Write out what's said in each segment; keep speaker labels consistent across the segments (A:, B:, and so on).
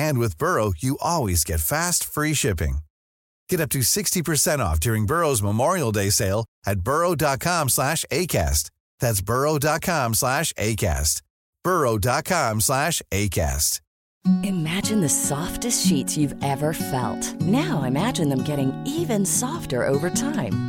A: And with Burrow, you always get fast, free shipping. Get up to 60% off during Burrow's Memorial Day sale at burrow.com slash ACAST. That's burrow.com slash ACAST. burrow.com slash ACAST.
B: Imagine the softest sheets you've ever felt. Now imagine them getting even softer over time.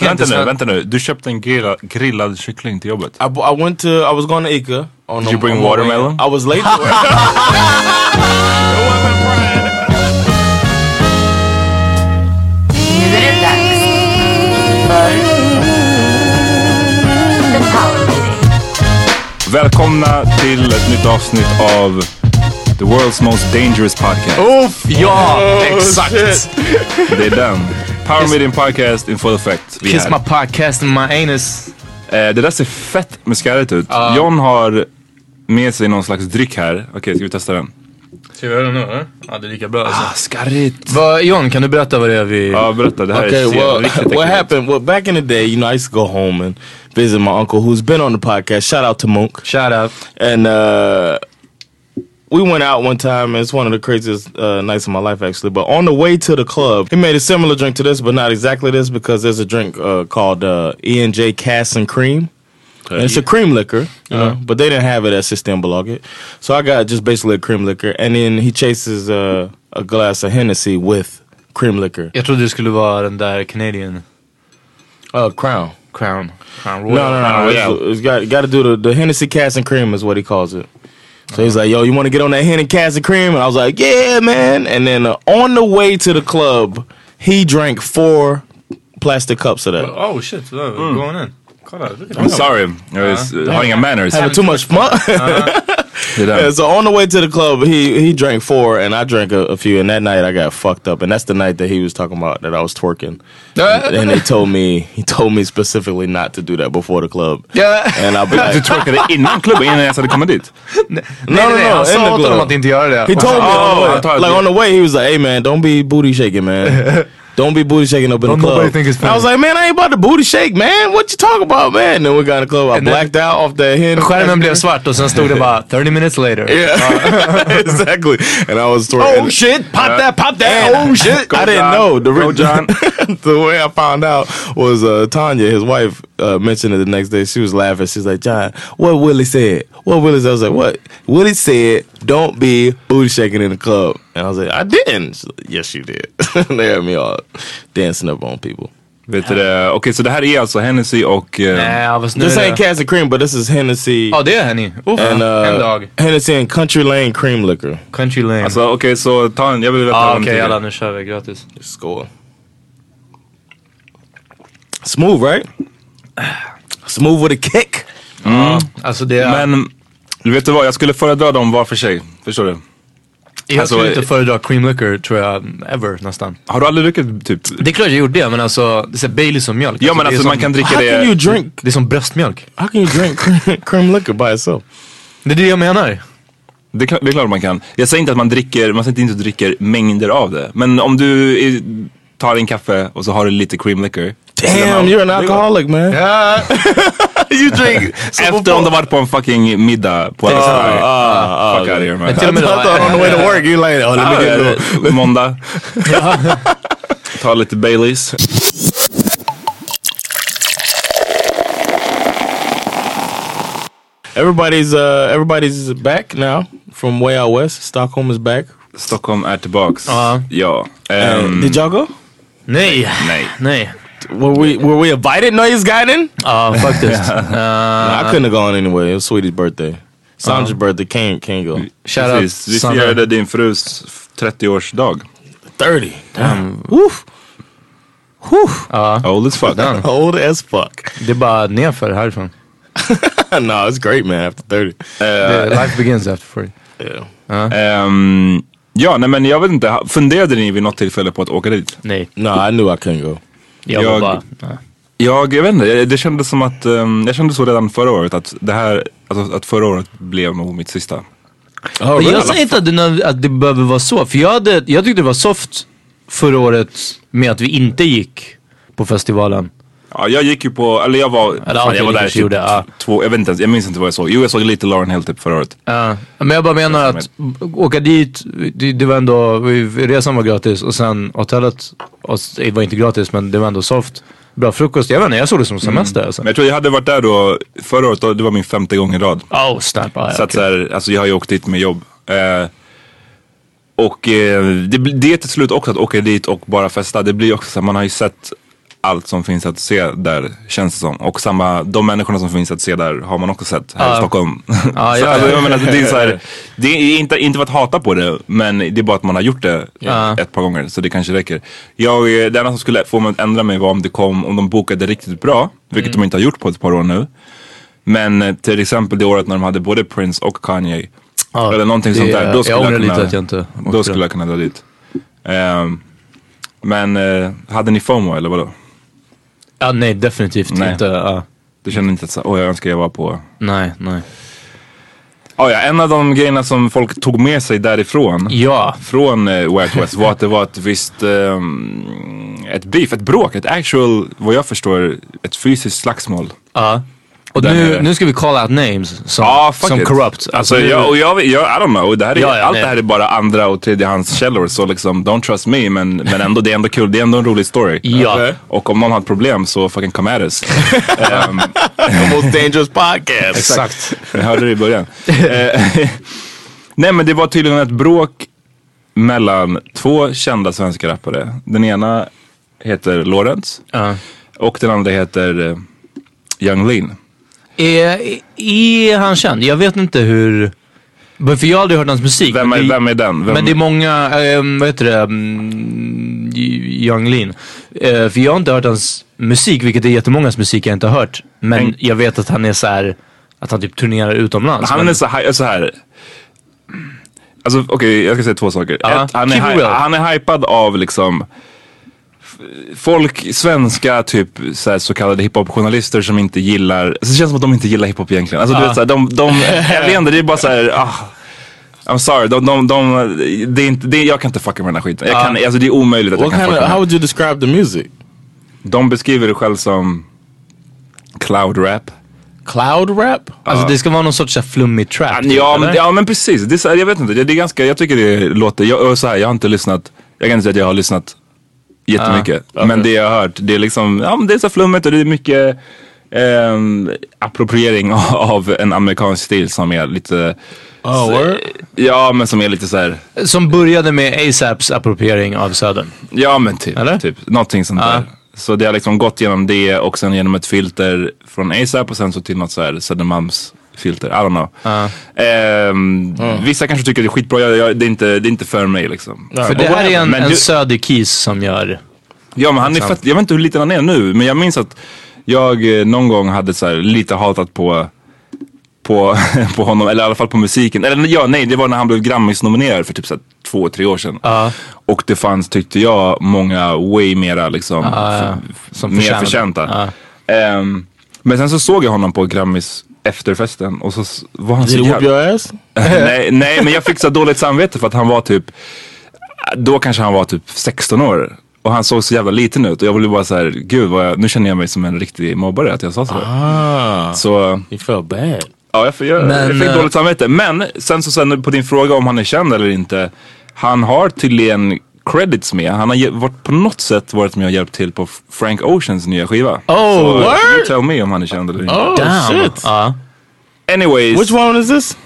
C: Vänta nu, vänta nu. Du köpte en grilla, grillad kyckling till jobbet.
D: I, I went to I was going to Ica. On
C: Did you bring watermelon?
D: I was late. to work.
C: Välkomna till ett nytt avsnitt av The World's Most Dangerous Podcast.
E: Uff, ja! exakt!
C: Det är den. Power Meeting Podcast in full effect. Vi är
E: Kiss
C: här.
E: my podcast in my anus.
C: Eh, det där ser fett muskäret ut. John har med sig någon slags dryck här. Okej, ska vi testa den?
E: Ska vi göra det nu eller? Ja, det är lika bra alltså.
C: Skarrigt.
E: Va, John, kan du berätta vad det är vi...
C: Ja, berätta. Det här
D: okay,
C: är ser
D: well,
C: riktigt
D: what
C: äckligt ut.
D: happened? Well, back in the day, you know, I used to go home and visit my uncle who's been on the podcast. Shout out to Monk.
E: Shout out.
D: And uh, we went out one time, and it's one of the craziest uh, nights of my life, actually. But on the way to the club, he made a similar drink to this, but not exactly this, because there's a drink uh, called uh, E&J Cass and Cream. And it's a cream liquor, you know, but they didn't have it at Systembolaget. So I got just basically a cream liquor, and then he chases uh, a glass of Hennessy with cream liquor.
E: Jag trodde det skulle vara den där Canadian
D: Uh, Crown.
E: Crown. Oh, Crown Royal.
D: No, no, no.
E: Crown Royal.
D: It's, it's got got to do the, the Hennessy Cast and Cream is what he calls it. So he's like, "Yo, you want to get on that Hennessy Cast and Cream?" And I was like, "Yeah, man." And then uh, on the way to the club, he drank four plastic cups of that.
E: Oh shit, oh, mm. going in. Kolla, look at
C: I'm
E: that.
C: sorry. Jag är- har inga manners.
D: Having too much fun.
C: Det är
D: Yeah,
C: den.
D: so on the way to the club, he he drank four, and I drank a, a few. And that night, I got fucked up, and that's the night that he was talking about that I was twerking. and, and they told me he told me specifically not to do that before the club.
E: Yeah.
D: and I'll be
C: Du
D: like,
C: twerkade innan klubben, innan jag ens hade kommit dit.
D: no, no,
E: Nej,
D: no,
E: han
D: in
E: sa
D: the
E: åt honom
D: club.
E: att inte göra det.
D: He
E: Och
D: told me
E: han-
C: Oh,
D: on the way,
C: I thought-
D: like on the way, he was like, "Hey man, don't be booty shaking, man."
C: Don't be booty shaking up in
E: Don't
C: the club.
E: nobody think it's funny.
C: I was like, man, I ain't about to booty shake, man. What you talking about, man? And then we got in the club. I
E: And then-
C: blacked out off that hen.
E: Skärmen blev svart och sen stod det bara 30 minutes later.
C: Yeah,
F: Uh,
C: exactly. And I was throwing.
E: Oh shit, pop that, pop that.
C: And-
E: Oh shit.
C: I didn't know the
G: Go,
C: re-
G: John.
C: the way I found out was uh, Tanya, his wife, uh, mentioned it the next day. She was laughing. She's like, "John, what Willie said? What Willie said?" I was like, "What Willie said? Don't be booty shaking in the club." And I was like, "I didn't." She's like, yes, you did. they had me all dancing up on people.
F: Vet du det? Okej, så det här är alltså Hennessy och... eh,
E: Nej, jag var snurrig.
C: This ain't Cassie Cream, but this is Hennessy
E: Ja, det är Henny. Uff, en
C: and uh,
E: dag.
C: Hennessy and Country Lane Cream Liquor.
E: Country lane.
F: Alltså okej, så ta en. Jag vill veta
E: Ja,
C: Ah,
F: en
E: okej,
F: till.
E: jalla nu kör vi. Grattis.
C: Score. Smooth, right? Smooth with a kick.
E: Alltså det är...
F: Men vet du vad, jag skulle föredra dem var för sig. Förstår du?
E: jag
F: alltså,
E: skulle inte
F: eh,
E: föredra cream liquor tror jag, ever nästan.
F: Har du aldrig druckit typ...
E: Det är klart jag gjorde det, men alltså, det är så här Baileys som mjölk.
F: Ja men
E: det är
F: alltså
E: som,
F: man kan dricka
C: How
F: det...
C: can you drink?
E: Det är som bröstmjölk.
C: How can you drink cream liquor by itself?
E: Det är det jag menar.
F: Det, är klart- det är klart man kan. Jag säger inte att man dricker, man säger inte att du dricker mängder av det. Men om du är, tar en kaffe och så har du lite cream liquor.
C: Damn, you're an alcoholic, man. you drink.
F: Efter om du varit på en fucking middag på
C: Ah,
F: en restaurang. Ah, Fuck out of here man. Ah,
E: till och med
C: I thought on the way to work, you like, oh, let me
F: Ja,
C: get a little.
F: eller Måndag. Ta lite Baileys.
C: Everybody's, uh, everybody's back now from way out west. Stockholm is back.
F: Stockholm är tillbaks.
E: Ja.
F: Ja.
C: Um,
F: ehm,
C: Did y'all go?
E: Nej.
F: nej.
E: Nej.
C: Were we were we invited? No, he's gotten.
E: Ja, faktiskt.
C: I couldn't have gone anyway. It was Sweetie's birthday. Sandra's
F: Oh.
C: birthday can't can't go.
E: Shout out
F: Precis. Vi
E: Sanna.
F: firade din frus 30-årsdag.
C: Thirty. Damn. Woof. Woof.
F: Old as fuck.
C: Old as fuck.
E: Det är bara nerför härifrån.
C: no, it's great, man. After thirty.
E: Det- Life begins after 40.
C: Yeah.
F: Ehm, ja, nej men jag vet inte. Funderade ni vid något tillfälle på att åka dit?
E: Nej.
C: No, I knew I couldn't go.
E: Jag,
F: Jag-
E: var bara...
F: Jag, jag vet inte, jag- det kändes som att, ehm, jag kände så redan förra året att det här, alltså, att förra året blev nog mitt sista.
C: Oh,
E: Men jag säger inte att det, nöd- att det behöver vara så. För jag, hade, jag tyckte det var soft förra året med att vi inte gick på festivalen.
F: Ja, jag gick ju på, eller jag var, fan,
E: okej,
F: jag var där
E: ni kanske
F: typ
E: gjorde, ja.
F: två, jag vet inte ens, jag minns inte vad jag såg. Jo jag såg lite Lauren Hill typ förra året.
E: Ja, men jag bara menar att åka dit, det, det var ändå, vi- resan var gratis och sen hotellet och, s- det var inte gratis men det var ändå soft. Bra frukost, jag vet inte, jag såg det som semester alltså.
F: Mm. Men jag tror jag hade varit där då, förra året, då, det var min femte gång i rad.
E: Oh snap, ah,
F: Så
E: ja,
F: att så här, alltså jag har ju åkt dit med jobb. Eh, och eh, det, blir- det är till slut också att åka dit och bara festa. Det blir också så här, man har ju sett allt som finns att se där känns det som. Och samma, de människorna som finns att se där har man också sett här i
E: Ja.
F: Stockholm.
E: Ja,
F: så,
E: ja,
F: alltså,
E: ja.
F: jag menar, det är, så här, det är inte, inte för att hata på det men det är bara att man har gjort det
E: Ja.
F: ett par gånger så det kanske räcker. Jag, eh, det enda som skulle få mig att ändra mig var om det kom, om de bokade riktigt bra, vilket
E: Mm.
F: de inte har gjort på ett par år nu. Men eh, till exempel det året när de hade både Prince och Kanye.
E: Ja,
F: eller någonting
E: det-
F: sånt där. Då
E: jag
F: skulle jag,
E: ångrar
F: kunna,
E: lite att jag inte åkte
F: då
E: då.
F: skulle jag kunna dra dit. Ehm, men eh, hade ni FOMO eller vadå?
E: ja, nej definitivt
F: Nej.
E: inte. ja.
F: Du kände inte att så, åh jag önskar jag var på...
E: nej, nej.
F: Ah, ja, en av de grejerna som folk tog med sig därifrån.
E: Ja,
F: Från eh, White West var att det var ett visst... ehm, ett beef, ett bråk, ett actual, vad jag förstår, ett fysiskt slagsmål.
E: ja. Och
F: Där
E: nu,
F: nere.
E: nu ska vi call out names som,
F: Ja, Ah, fuck
E: som
F: it.
E: corrupt.
F: Alltså,
E: nu-
F: jag, och jag, jag, I don't know. Det här är,
E: Ja, ja,
F: allt
E: nej.
F: det här är bara andra och tredjehandskällor. Så liksom, don't trust me. Men, men ändå, det är ändå kul. Det är ändå en rolig story.
E: Ja.
F: Okej. Och om någon har ett problem så fucking come at us. Ehm,
C: the most dangerous podcast.
E: Exakt.
F: jag hörde det i början. Eh, Nej men det var tydligen ett bråk mellan två kända svenska rappare. Den ena heter Lorentz
E: Ja.
F: och den andra heter eh, Young Lean.
E: Är, är han känd? Jag vet inte hur... Men för jag har aldrig hört hans musik.
F: Vem
E: men
F: är,
E: det-
F: vem är den? Vem,
E: Men det är många, ehm, vad heter det, mm, Young Lean. Eh, för jag har inte hört hans musik, vilket är jättemångas musik jag inte har hört. Men
F: Mm.
E: jag vet att han är så här, att han typ turnerar utomlands.
F: Han
E: men,
F: är så här, så här. Alltså okej, jag ska säga två saker.
E: Ja,
F: Ett, han, är
E: keep it
F: hy-
E: real.
F: han är hypad av liksom f- folk, svenska typ så, här, så kallade hiphop-journalister som inte gillar, alltså, det känns som att de inte gillar hiphop egentligen. Alltså du vet såhär, de, de, jag vet inte, det är bara såhär, ah, I'm sorry, de, de, de, det är inte, det, jag kan inte fucka med den här skiten. Jag kan,
C: Ah.
F: alltså, det är omöjligt att jag
C: What
F: kan
C: kind
F: fucka
C: of?
F: med
C: How
F: den.
C: would you describe the music?
F: De beskriver det själv som cloud rap.
C: Cloud rap?
E: Alltså det ska vara någon sorts så här flummig trap.
F: Ja,
E: typ,
F: Ah, ja, men,
E: eller?
F: ja men precis, det är, så här, jag vet inte, det, det är ganska, jag tycker det låter, jag, och så här, jag har inte lyssnat, jag kan inte säga att jag har lyssnat jättemycket. Men det jag har hört, det är liksom, ja men det är så flummigt och det är mycket ehm, appropriering av- av en amerikansk stil som är lite,
C: Oh, word?
F: ja men som är lite så här,
E: Som började med ASAPs appropriering av Södern.
F: Ja men typ,
E: Eller?
F: typ någonting sånt
E: Ja.
F: där. Så det har liksom gått genom det och sen genom ett filter från ASAP och sen så till något så här Södermalms filter. I don't know. Ehm,
C: Mm.
F: Vissa kanske tycker det är skitbra, jag, jag, det, är inte, det är inte för mig liksom.
E: För det
F: Och
E: här är en,
F: men
E: en
F: du-
E: söderkis som gör...
F: Ja men han är fett, jag vet inte hur liten han är nu men jag minns att jag eh, någon gång hade så här, lite hatat på på, på honom, eller i alla fall på musiken. Eller ja, nej, det var när han blev Grammis-nominerad för typ så här, två, tre år sedan. Och det fanns, tyckte jag, många way mera liksom,
E: ja. Som
F: mer
E: förtjänade.
F: förtjänta. Ehm, men sen så såg jag honom på Grammis efterfesten och så s- var han
C: Did
F: så
C: it whoop
F: jävla...
C: your ass?
F: nej, nej, men jag fick så dåligt samvete för att han var typ, då kanske han var typ 16 år. Och han såg så jävla liten ut och jag blev bara så här, gud vad jag, nu känner jag mig som en riktig mobbare att jag sa så.
C: Ah,
F: Så
C: you felt bad.
F: ja, jag, fick- jag,
E: Men,
F: jag fick
E: eh,
F: dåligt samvete. Men sen så sen på din fråga om han är känd eller inte. Han har tydligen credits med, han har ge- varit på något sätt varit med och hjälpt till på Frank Oceans nya skiva.
C: Oh,
F: så,
C: word?
F: you tell me om han är känd eller inte.
C: Oh
E: Damn.
C: shit.
E: Ja.
F: Anyways,
C: Oh. Which one is this?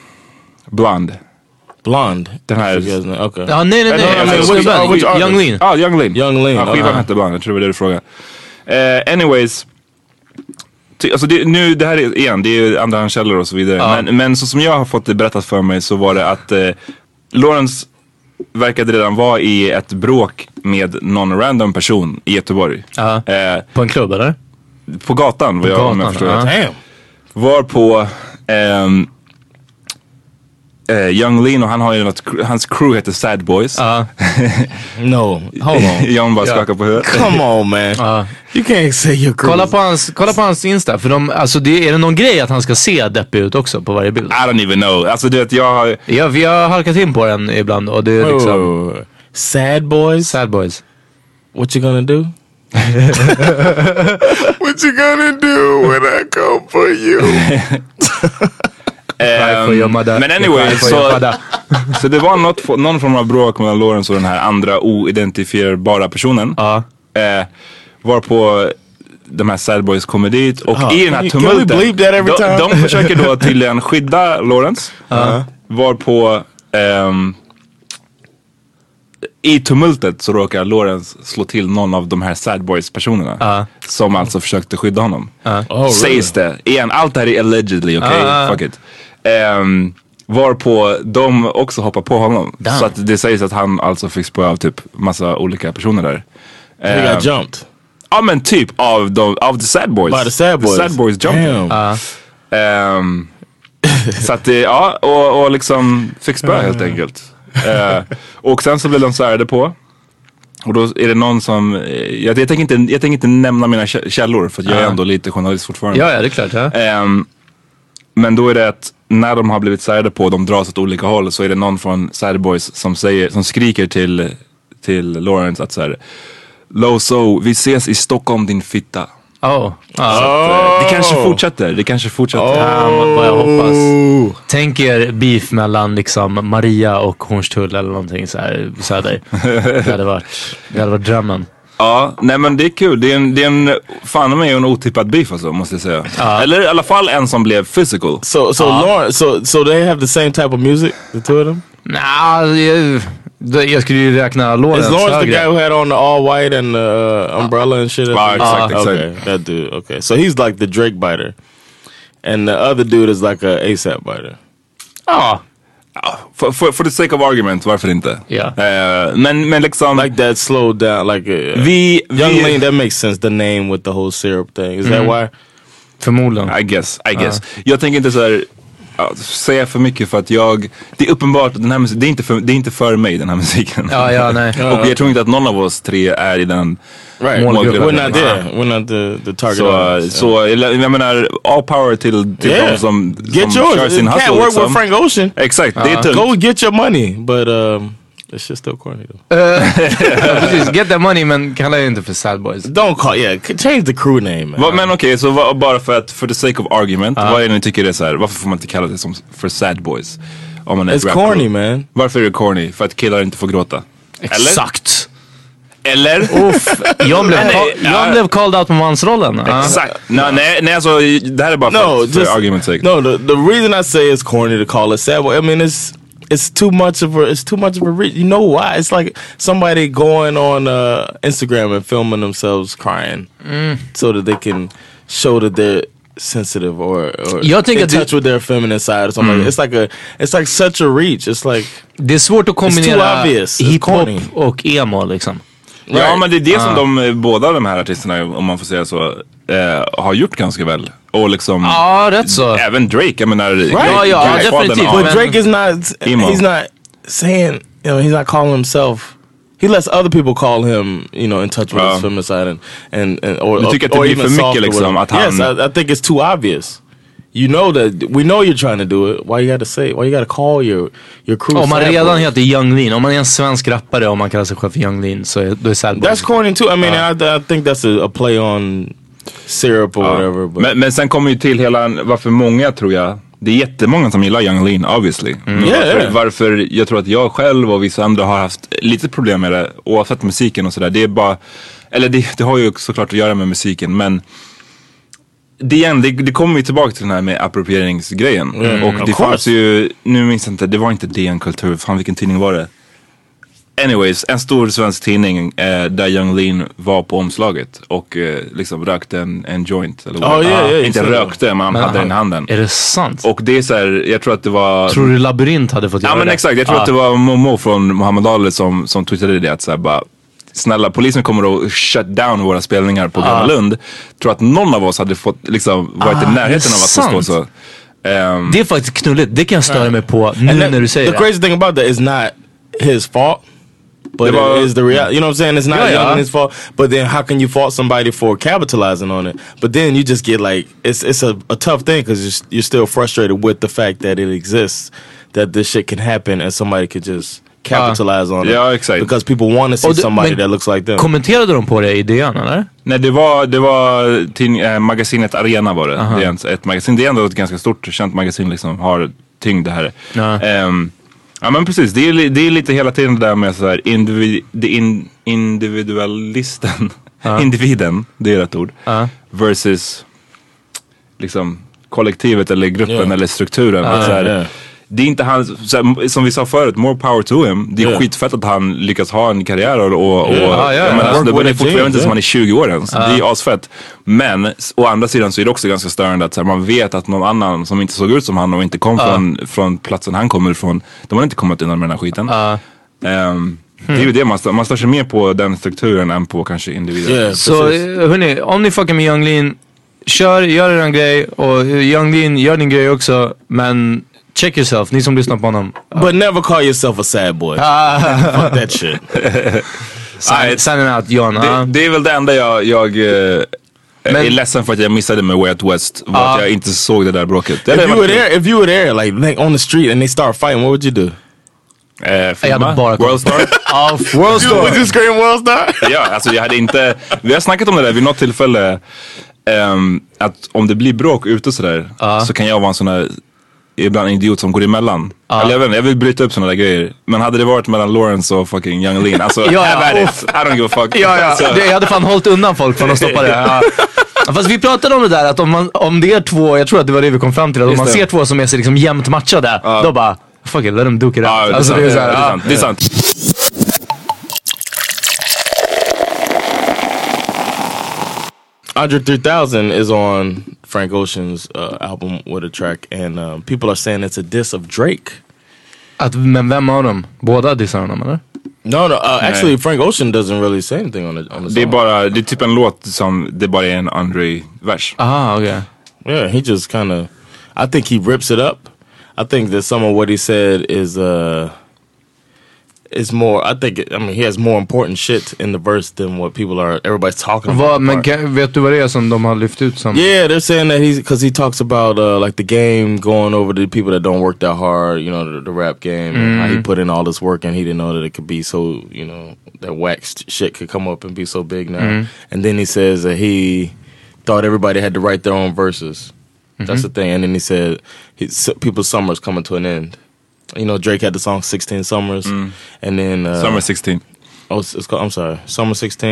F: Blonde.
C: Blonde.
F: Den här-
C: I forget his name. Okay.
E: ja, nej nej
F: Nej,
E: nej.
F: nej, nej,
E: Alltså,
F: which-
E: snubben,
F: uh, which
E: Young
F: artist?
E: Lean.
F: Ja, Young Lean.
C: Young Lean,
F: Ja, skivan
C: aha.
F: hette Blonde, jag tror det var det du frågade. Eh, anyways. Ty, alltså det, nu, det här är igen, det är ju andrahandskällor och så vidare. Men, men så som jag har fått det berättat för mig så var det att eh, Lawrence verkade redan vara i ett bråk med någon random person i Göteborg.
E: Ja.
F: Eh,
E: På en klubb eller?
F: på gatan vad jag, om jag
E: gatan,
F: förstår
E: ja.
F: rätt.
C: Damn.
F: Varpå ehm, eh, Young Lean och han har ju något, cr- hans crew heter Sad Boys.
E: Ja.
C: No. Hold on.
F: John bara skakar på huvudet.
C: Come on, man. you can't say your crew.
E: Kolla på hans, kolla på hans Insta. För de, alltså det, är det någon grej att han ska se deppig ut också på varje
C: Ah.
E: bild?
F: I don't even know. Alltså du vet jag har...
E: Ja, vi har halkat in på den ibland och det är liksom...
C: Oh. Sad boys.
E: Sad boys.
C: What you gonna do? what you gonna do when I come for you?
E: Cry for your mother.
F: Um, men anyway,
E: Cry for
F: så-
E: your father.
F: ehm, Så det var något, fo- någon form av bråk mellan Lawrence och den här andra oidentifierbara personen.
E: Ja.
F: Eh, varpå de här sad boys kommer dit och i den här
C: Can we
F: tumulten.
C: bleep that every
F: de,
C: time?
F: de försöker då tydligen skydda Lawrence. Varpå ehm, i tumultet så råkar Lawrence slå till någon av de här sad boys personerna. Som alltså försökte skydda honom.
C: Oh,
F: Sägs det. Igen, allt det här är allegedly, okej?
E: Ah, ah.
F: Fuck it. Ehm, varpå de också hoppar på honom. Så att det sägs att han alltså fick spö av typ massa olika personer där.
C: He
F: Ehm,
C: got jumped
F: Ja men typ av de, av the sad boys.
C: by the sad boys.
F: The sad boys jumping.
C: Damn.
F: Ehm, så att det, ja och, och liksom fick spö helt enkelt. Eh, och sen så blev de särade på. Och då är det någon som, eh, jag, jag, tänker, inte, jag tänker inte nämna mina kä- källor för att jag är
E: Ja.
F: ändå lite journalist fortfarande.
E: Ja, ja, det är klart. Ja.
F: Ehm, men då är det att när de har blivit särade på och de dras åt olika håll så är det någon från Sad Boys som, säger, som skriker till, till Lawrence att så här Loso, vi ses i Stockholm din fitta.
E: Oh. Ja.
F: Eh, Det kanske fortsätter, det kanske fortsätter.
E: Fan vad jag hoppas.
C: Oh.
E: Tänk er beef mellan liksom Maria och Hornstull eller någonting så här söder. Det hade varit, det hade varit drömmen.
F: Ja, nej men det är kul. Det är en, det är en fan mig en otippad beef alltså måste jag säga.
C: Uh,
F: Eller i alla fall en som blev physical.
C: So so Lawrence so so they have the same type of music, the two of them?
E: Nah, jag, det- jag skulle ju räkna
C: Is
E: Lawrence
C: Lawrence the
E: högre.
C: guy who had on the all white and the uh, umbrella and shit?
F: Ah, exactly,
C: Okay,
F: exactly.
C: that dude. Okay, so he's like the Drake biter, and the other dude is like a ASAP biter.
E: Ja.
F: Ah, For, for, for the sake of argument, varför inte?
E: Ja.
F: Eh, men, men liksom...
C: Like that slowed down. Like uh,
F: vi,
C: Young
F: vi,
C: Lean. That makes sense. The name with the whole syrup thing. Is that why?
E: Förmodligen.
F: I guess, I guess. Jag tänker inte så här ja, säga för mycket för att jag, det är uppenbart att den här musiken, det är inte för, det är inte för mig den här musiken.
E: Ja, ja, nej.
F: Och jag tror inte att någon av oss tre är i den
C: Right.
F: målgruppen.
C: We're not there. We're not the, the target.
F: Så,
C: audience.
F: så eller, jag menar, all power till, till
C: Yeah.
F: de som, som
C: get
F: kör
C: yours.
F: sin
C: You
F: hustle.
C: can't work
F: liksom.
C: with Frank Ah. Ocean.
F: Exakt, det är tungt.
C: Uh-huh. Go get your money. But um, it's just still corny though.
E: Precis, get that money men kalla det inte för sad boys.
C: Don't call. Yeah, c- change the crew name. Man.
F: Va, men okej, så va, bara för att, for the sake of argument,
C: Ah.
F: vad är det ni tycker det är så här, varför får man inte kalla det som, för sad boys? Om man är ett
C: It's
F: rap group?
C: corny, man.
F: Varför är det corny? För att killar inte får gråta?
E: Exakt!
F: Eller?
E: Uff, jag blev,
F: Nej,
E: jag
F: ja.
E: blev called out på mansrollen. Ja.
F: Exakt. Nej, nej, nej alltså det här är bara
C: Ah. No,
F: för,
C: just
F: för argument's sake.
C: No, the the reason I say it's corny to call it sad boy. I mean, it's it's too much of a it's too much of a re- you know why? It's like somebody going on uh, Instagram and filming themselves crying
E: Mm.
C: so that they can show that they're sensitive or, or
E: Y'all think I
C: in
E: do-
C: touch with their feminine side or something. Like that. It's like a it's like such a reach. It's like
E: Det är svårt att kombinera
C: obvious. It's
E: hiphop
C: corny.
E: och emo liksom.
F: Ja men det är det
E: Ah.
F: som de, eh, båda de här artisterna, om man får säga så, eh, har gjort ganska väl. Och liksom,
E: Ja, rätt så.
F: även Drake, jag menar,
E: Ja, ja,
F: Drake var den
E: definitivt.
F: av-
C: But
E: man.
C: Drake is not.
F: Emo.
C: He's not saying. You know, he's not calling himself. He lets other people call him. You know, in touch with
F: Ja.
C: his femicide and and, and or,
F: Du tycker att det
C: or
F: blir
C: even
F: för mycket
C: soft or
F: liksom,
C: whatever.
F: att han-
C: Yes, I, I think it's too obvious. You know that we know you're trying to do it. Why you got to say? it? Why you got to call your your crew?
E: Om man
C: sad
E: redan
C: boys?
E: heter Young Lean, om man är en svensk rappare och man kallar sig själv för Young Lean så är, då är sad boys.
C: that's corny too. I mean, I, I think that's a, a play on syrup or whatever. But
F: Men, men sen kommer ju till hela, varför många tror jag, det är jättemånga som gillar Young Lean obviously. Men
C: Yeah,
F: varför,
C: yeah.
F: varför jag tror att jag själv och vissa andra har haft lite problem med det, oavsett musiken och sådär. Det är bara, eller det, det har ju såklart att göra med musiken men det, igen, det, det kommer ju tillbaka till den här med approprieringsgrejen. och det fanns
C: course.
F: ju, nu minns jag inte, det var inte DN Kultur, fan vilken tidning var det? Anyways, en stor svensk tidning eh, där Young Lean var på omslaget och eh, liksom rökte en, en joint. Eller
C: Ja,
F: vad-
C: ja, ja,
F: inte
C: just det.
F: rökte, men han hade den i handen.
E: Är det sant?
F: Och det är så här, jag tror att det var...
E: Tror du Labyrint hade fått göra
F: ja men
E: det?
F: exakt, jag tror att det var Momo från Muhammad Ali som, som twittrade det att så här, bara Snälla polisen kommer att shut down våra spelningar på Gröna Lund. Tror att någon av oss hade fått, liksom, varit
E: Ah,
F: i
E: är det
F: närheten av att få stå
E: sant?
F: så. Ehm,
E: Det är faktiskt knulligt, det kan jag störa mig på nu
C: And that-
E: när du säger
C: the crazy thing about that is not his fault. But
F: Det var-
C: it is the reality. You know what I'm saying? It's not
E: Yeah,
C: Young
E: yeah.
C: Lean's fault. But then how can you fault somebody for capitalizing on it? But then you just get like it's it's a, a tough thing because you're, s- you're still frustrated with the fact that it exists, that this shit can happen, and somebody could
E: Uh,
C: just capitalize on it.
F: Yeah, exactly.
C: Because people want to see
E: Och det-
C: somebody
E: men-
C: that looks like them.
E: det. Kommenterade de på det i DN eller?
F: Nej, det var, det var tidning, eh, magasinet Arena var det. Det är ett, ett magasin. Det är ändå ett ganska stort, känt magasin liksom. Har tyngd här.
E: Ja.
F: Ehm, ja men precis, det är, li- det är lite hela tiden det där med så här individ, det in, individualisten. Individen, det är rätt ord.
E: Ja.
F: Versus liksom kollektivet eller gruppen
C: Ja.
F: eller strukturen. Att så här,
C: ja.
F: Det är inte han, så här, som vi sa förut, more power to him. Det är
C: Ja.
F: skitfett att han lyckas ha en karriär och, och, och
E: Ja, ja, ja.
F: jag menar,
C: Work
F: snubben är
C: with a
F: fortfarande
C: change,
F: inte som
C: ja.
F: han är 20 år ens. Det är asfett. Men s- å andra sidan så är det också ganska störande att så här, man vet att någon annan som inte såg ut som han och inte kom från, från platsen han kommer ifrån, de har inte kommit undan med den här skiten. Ehm, Det är
E: Hmm.
F: ju det man, stör- man stör sig mer på den strukturen än på kanske individen.
C: Yeah.
E: Så
C: Precis.
E: eh, hörni, om ni fuckar med Young Lean, kör, gör er en grej och eh, Young Lean, gör din grej också. Men check yourself, ni som lyssnar på honom.
C: Uh, but never call yourself a sad boy.
E: Ah.
C: Fuck that shit.
F: Nej,
E: Sign, signing out John.
F: Det,
E: ah.
F: det är väl det enda jag, jag eh, är
E: Men-
F: ledsen för att jag missade med Way Out West. Var att
E: Ja.
F: jag inte såg det där bråket. Det hade
C: if you
F: varit
C: were
F: kul.
C: there, if you were there, like, like on the street and they start fighting, what would you do?
F: Eh,
E: Jag
F: filma?
E: hade bara kollat
F: Worldstar?
E: World Star.
C: Would you scream world star?
F: ja, alltså jag hade inte, vi har snackat om det där vid något tillfälle. ehm, att om det blir bråk ute sådär så kan jag vara en sån där ibland idiot som går emellan. Eller jag vet inte, jag vill bryta upp såna där grejer. Men hade det varit mellan Lawrence och fucking Young Lean, alltså
E: Ja, ja.
F: have at it. I don't give a fuck.
E: Ja,
F: Alltså,
E: ja. Det, jag hade fan hållit undan folk från att stoppa det. Ja. Fast vi pratade om det där att om, man, om det är två, jag tror att det var det vi kom fram till, att om
F: Just
E: man
F: det.
E: ser två som är så liksom jämnt matchade, då bara fuck it, let them duke it out.
F: ja, det är
E: Alltså,
F: sant. Det
E: så här,
F: är
E: ah.
F: sant. Det är sant.
C: Andre 3000 is on Frank Ocean's uh, album with a track, and uh, people are saying it's a diss of Drake.
E: Att, men vem av dem? Båda dissar honom eller?
C: No, no. Uh, actually, Frank Ocean doesn't really say anything on the on the
F: Det är
C: song.
F: bara, det är typ en låt som, det bara är en Andre-vers.
E: Aha, okej.
C: yeah, he just kind of. I think he rips it up, I think that some of what he said is uh is more. I think I mean he has more important shit in the verse than what people are everybody's talking about.
E: Vad, men kan, vet du vad det är som de har lyft ut? Som,
C: Yeah, they're saying that he's because he talks about uh, like the game going over to the people that don't work that hard. You know, the, the rap game. And how he put in all this work and he didn't know that it could be so. You know, that waxed shit could come up and be so big now. And then he says that he thought everybody had to write their own verses. That's the thing. And then he said he, s- people's summer's coming to an end. You know, Drake had the song "16 Summers," and then uh,
F: Summer 16.
C: Oh, it's, it's called, I'm sorry, summer 16.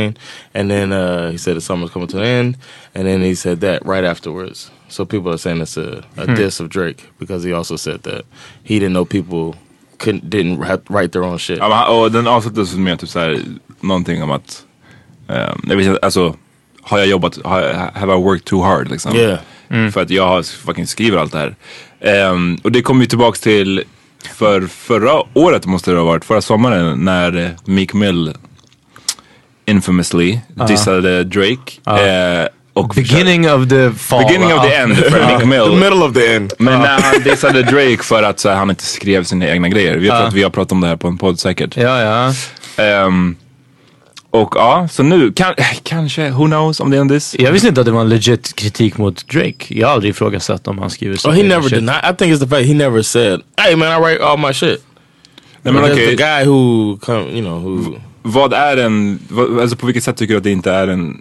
C: And then uh, he said the summer's coming to an end. And then he said that right afterwards. So people are saying it's a, a diss of Drake because he also said that he didn't know people couldn't didn't ra- write their own shit.
F: Ja, men, han- och den avslutades med typ så här, någonting om att, ehm, jag vet inte, alltså, har jag jobbat, har, jag- have I worked too hard liksom?
C: Yeah.
F: För att jag har fucking skriver allt det här. Ehm, och det kommer ju tillbaks till, för förra året måste det ha varit, förra sommaren när eh, Meek Mill infamously dissade Drake. eh, och
E: beginning of uh-huh. the fall.
F: beginning of the
E: Ja.
F: end för Meek Mill.
C: of the end.
F: Men när han dissade Drake för att så här, han inte skrev sina egna grejer. Vi, tror att vi har pratat om det här på en podd säkert.
E: Ja, ja.
F: Ehm, och ja, så nu kan, kanske, who knows om det är en diss.
E: Jag visste inte att det var en legit kritik mot Drake. Jag har aldrig ifrågasatt om han skriver så.
C: Oh, he never denied. I think it's the fact he never said, hey man, I write all my shit.
F: Nej, men
C: But there's
F: okej,
C: the guy who, come, you know, who.
F: vad är en, vad, alltså på vilket sätt tycker du att det inte är en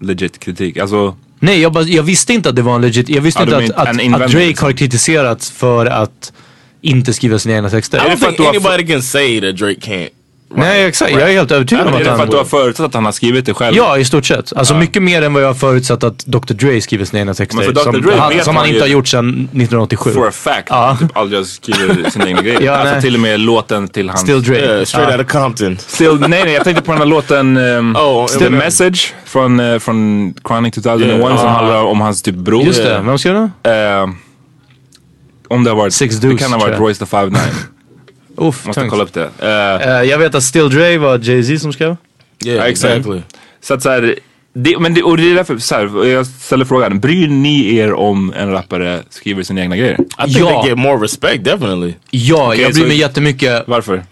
F: legit kritik? Alltså,
E: Nej, jag, bara, jag visste inte att det var en legit... Jag visste
F: Ja,
E: inte
F: de är
E: att,
F: inte en
E: att,
F: invändning,
E: att Drake
F: liksom.
E: har kritiserats för att inte skriva sina egna texter.
C: I don't
F: för att
C: think
F: du har-
C: anybody can say that Drake can't.
E: Nej, exakt. Jag är helt övertygad om
F: är
E: att
F: det för
E: han...
F: att du har förutsatt att han har skrivit det själv?
E: Ja, i stort sett. Alltså mycket mer än vad jag har förutsatt att Dr Dre skriver sina egna texter.
F: Men för Dr.
E: Som
F: Dre
E: han,
F: vet
E: som
F: man
E: han
F: ju-
E: inte har gjort sedan 1987.
F: For a fact.
E: Ja.
F: Typ aldrig har skrivit sina egna grejer.
E: Ja,
F: alltså
E: nej.
F: till och med låten till hans...
E: Still Dre.
C: Yeah, straight
E: Ja.
C: out of Compton.
F: Still, nej nej, jag tänkte på den här låten ehm,
C: Oh,
F: The
C: Eminem.
F: Message från, eh, från Chronic 2001
C: Yeah.
F: som handlar om hans typ bror.
E: Ah. Just det, vem skrev den?
F: Ehm, om det har varit,
E: Six
F: det
E: Deuce,
F: kan ha
E: tror
F: varit
E: jag.
F: Royce the Five Nine.
E: Uff,
F: Måste
E: tungt.
F: kolla upp det. Ehm,
E: Eh, jag vet att Still Dre var Jay-Z som skrev. Mm.
C: Yeah,
F: Exactly.
C: exactly.
F: Så att så här, det, men det, och det är därför så här, jag ställer frågan, bryr ni er om en rappare skriver sina egna grejer?
C: I think
E: Ja.
C: they get more respect, definitely.
E: Ja, jag bryr
F: så-
E: mig jättemycket.
F: Varför?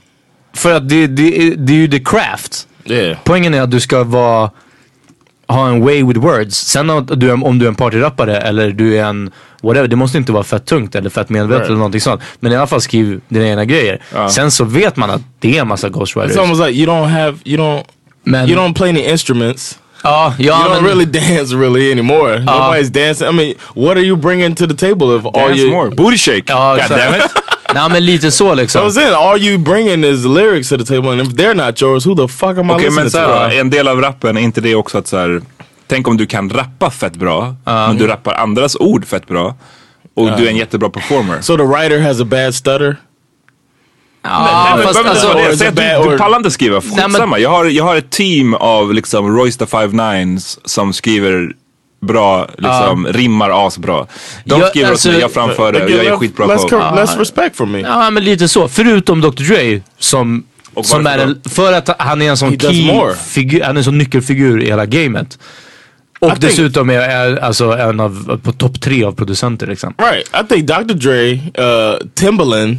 E: För att det, det, det är ju the craft.
C: Yeah.
E: Poängen är att du ska vara, ha en way with words. Sen om du, är- om du är en partyrappare eller du är en whatever, det måste inte vara fett tungt eller fett medvetet
C: Right.
E: eller någonting sånt. Men i alla fall skriv dina egna grejer. Sen så vet man att det är en massa ghostwriters.
C: It's almost like you don't have you don't
E: Men-
C: you don't play any instruments.
E: ja,
C: You
E: ja,
C: don't
E: men,
C: really dance really anymore.
F: Uh-huh.
C: Nobody's dancing. I mean, what are you bringing to the table if all
F: Dance
C: you
F: more. Booty shake.
E: Ja,
F: God
E: exakt.
F: damn it.
E: nej, men lite så
C: I
E: liksom.
C: was saying, all you bringing is lyrics to the table, and if they're not yours, who the fuck am I
F: Okej
C: listening
F: men så
C: to? Uh,
F: här, då, en del av rappen, är inte det också att så här, tänk om du kan rappa fett bra,
E: Ah,
F: men
E: mm.
F: du rappar andras ord fett bra och du är en jättebra performer.
C: so the writer has a bad stutter.
E: Ja,
F: Men
E: fast
F: behöver inte
E: alltså,
F: vara det.
C: or
F: Säg
C: is
F: att
C: it
F: du,
C: bad
F: du
C: or-
F: pallar inte skriva,
E: men-
F: skitsamma. Jag har, jag har ett team av liksom Royce the Five Nines som skriver bra, liksom rimmar asbra. De
E: Ja,
F: skriver åt
E: Ah. alltså-
F: mig, jag framför det, och jag är skitbra Ah.
C: less,
F: på.
C: cor- less respect for me.
E: Ja men lite så, förutom Dr Dre som,
F: Och
E: som är
F: varför
E: en, för att han är en
C: He
E: sån
C: does more.
E: key figur, han är en sån nyckelfigur i hela gamet. Och
C: think-
E: dessutom är, är alltså en av, på topp tre av producenter liksom.
C: Right. I think Dr. Dre, uh, Timbaland,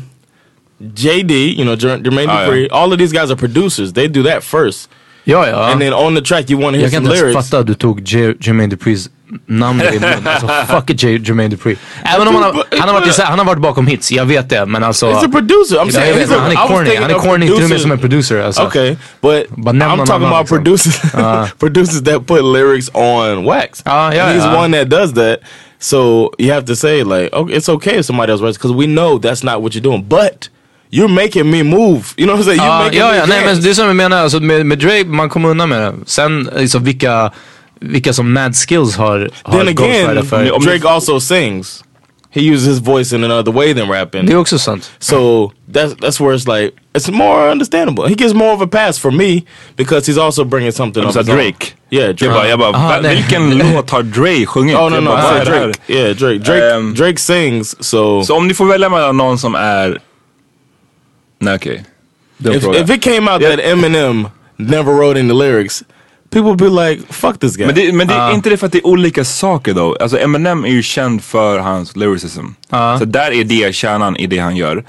C: JD, you know, Jer- Jermaine
F: Ah, yeah.
C: Dupri, all of these guys are producers. They do that first.
E: Ja ja.
F: Uh-huh.
C: And then on the track, you want to hear
E: Jag kan
C: some
E: inte ens
C: lyrics.
E: fatta att du tog J- Jermaine Duprees namn i din mun. Alltså fuck J- Jermaine Dupri. Även om han har, han, har varit, i så här- han har varit bakom hits, jag vet det. Men alltså.
C: He's a producer. I'm
E: jag
C: saying
E: vet,
C: he's
E: men
C: a,
E: han
C: I
E: är
C: was
E: corny.
C: thinking
E: Han är
C: of
E: corny till och med
C: producers.
E: som en producer alltså.
C: Okay, but,
E: But now
C: I'm
E: no,
C: talking
E: no, no,
C: about
E: it's okay.
C: producers, producers that put lyrics on wax.
E: Ah, Uh, yeah,
C: And he's
E: yeah.
C: one that does that. So you have to say like, okay, it's okay if somebody else writes because we know that's not what you're doing. But you're making me move. You know what I'm saying? You're
E: Ja,
C: making
E: ja,
C: me
E: ja nej,
C: dance.
E: men det är som jag menar. Alltså, med, med Dre, man kommer undan med det. Sen liksom, vilka, vilka som Mad Skills har, har
C: Then again,
E: Ghostwriter för.
C: Drake also sings. He uses his voice in another way than rapping.
E: Det är också sant.
C: So that's that's where it's like it's more understandable. He gets more of a pass for me because he's also bringing something.
F: Så
C: of
F: här,
C: his own.
F: Drake.
C: yeah,
F: Jag
C: Drake.
F: bara, jag bara
E: Aha,
F: va-
E: nej.
F: vilken låt har Dre sjungit?
C: oh no,
F: Jag
C: no,
F: bara,
C: I
F: vad
C: said
F: är det här?
C: Drake. Yeah, Drake. Drake.
F: Um,
C: Drake sings. So,
F: Så om ni får välja mellan någon som är... Nej okej. Okay.
C: if, if it came out that Eminem never wrote in the lyrics, people be like, fuck this guy.
F: Men, det, men det, är inte det för att det är olika saker då? Alltså Eminem är ju känd för hans lyricism. Så där är det kärnan i det han gör.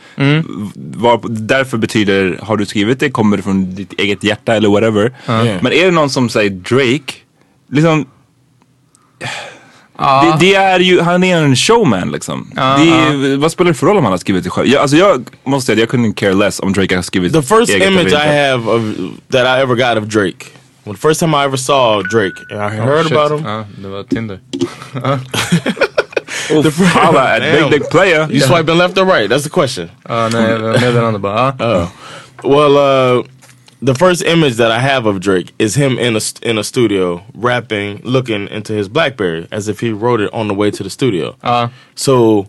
F: Var, därför betyder, har du skrivit det, kommer det från ditt eget hjärta eller whatever. Mm. Men är det någon som säger Drake, liksom det, det är ju, han är en showman liksom. det är, vad spelar det för roll om han har skrivit det själv? Jag, alltså jag måste säga, jag kunde care less om Drake har skrivit
C: the first
F: eget eller
C: image I
F: inte.
C: have of that I ever got of Drake. Well, the first time I ever saw Drake, and I heard about him.
E: Ja, det var Tinder.
F: Oh, Holla at Big Dick Player.
C: You swiping left or right? That's the question.
E: Ja, nej, meddelande bara. ah.
C: Well, uh, the first image that I have of Drake is him in a st- in a studio rapping, looking into his BlackBerry as if he wrote it on the way to the studio.
E: Uh.
C: So,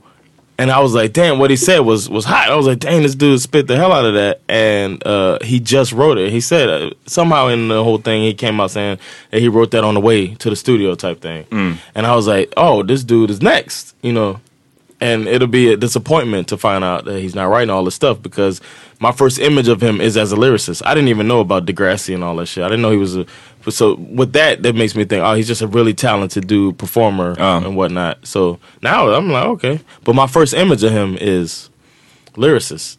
C: and I was like, damn, what he said was was hot. I was like, dang, this dude spit the hell out of that, and uh, he just wrote it. He said uh, somehow in the whole thing he came out saying that he wrote that on the way to the studio type thing, and I was like, oh, this dude is next, you know and it'll be a disappointment to find out that he's not writing all this stuff because my first image of him is as a lyricist. I didn't even know about Degrassi and all that shit. I didn't know he was a. So with that, that makes me think, oh, he's just a really talented dude, performer and whatnot. So now I'm like, okay, but my first image of him is lyricist.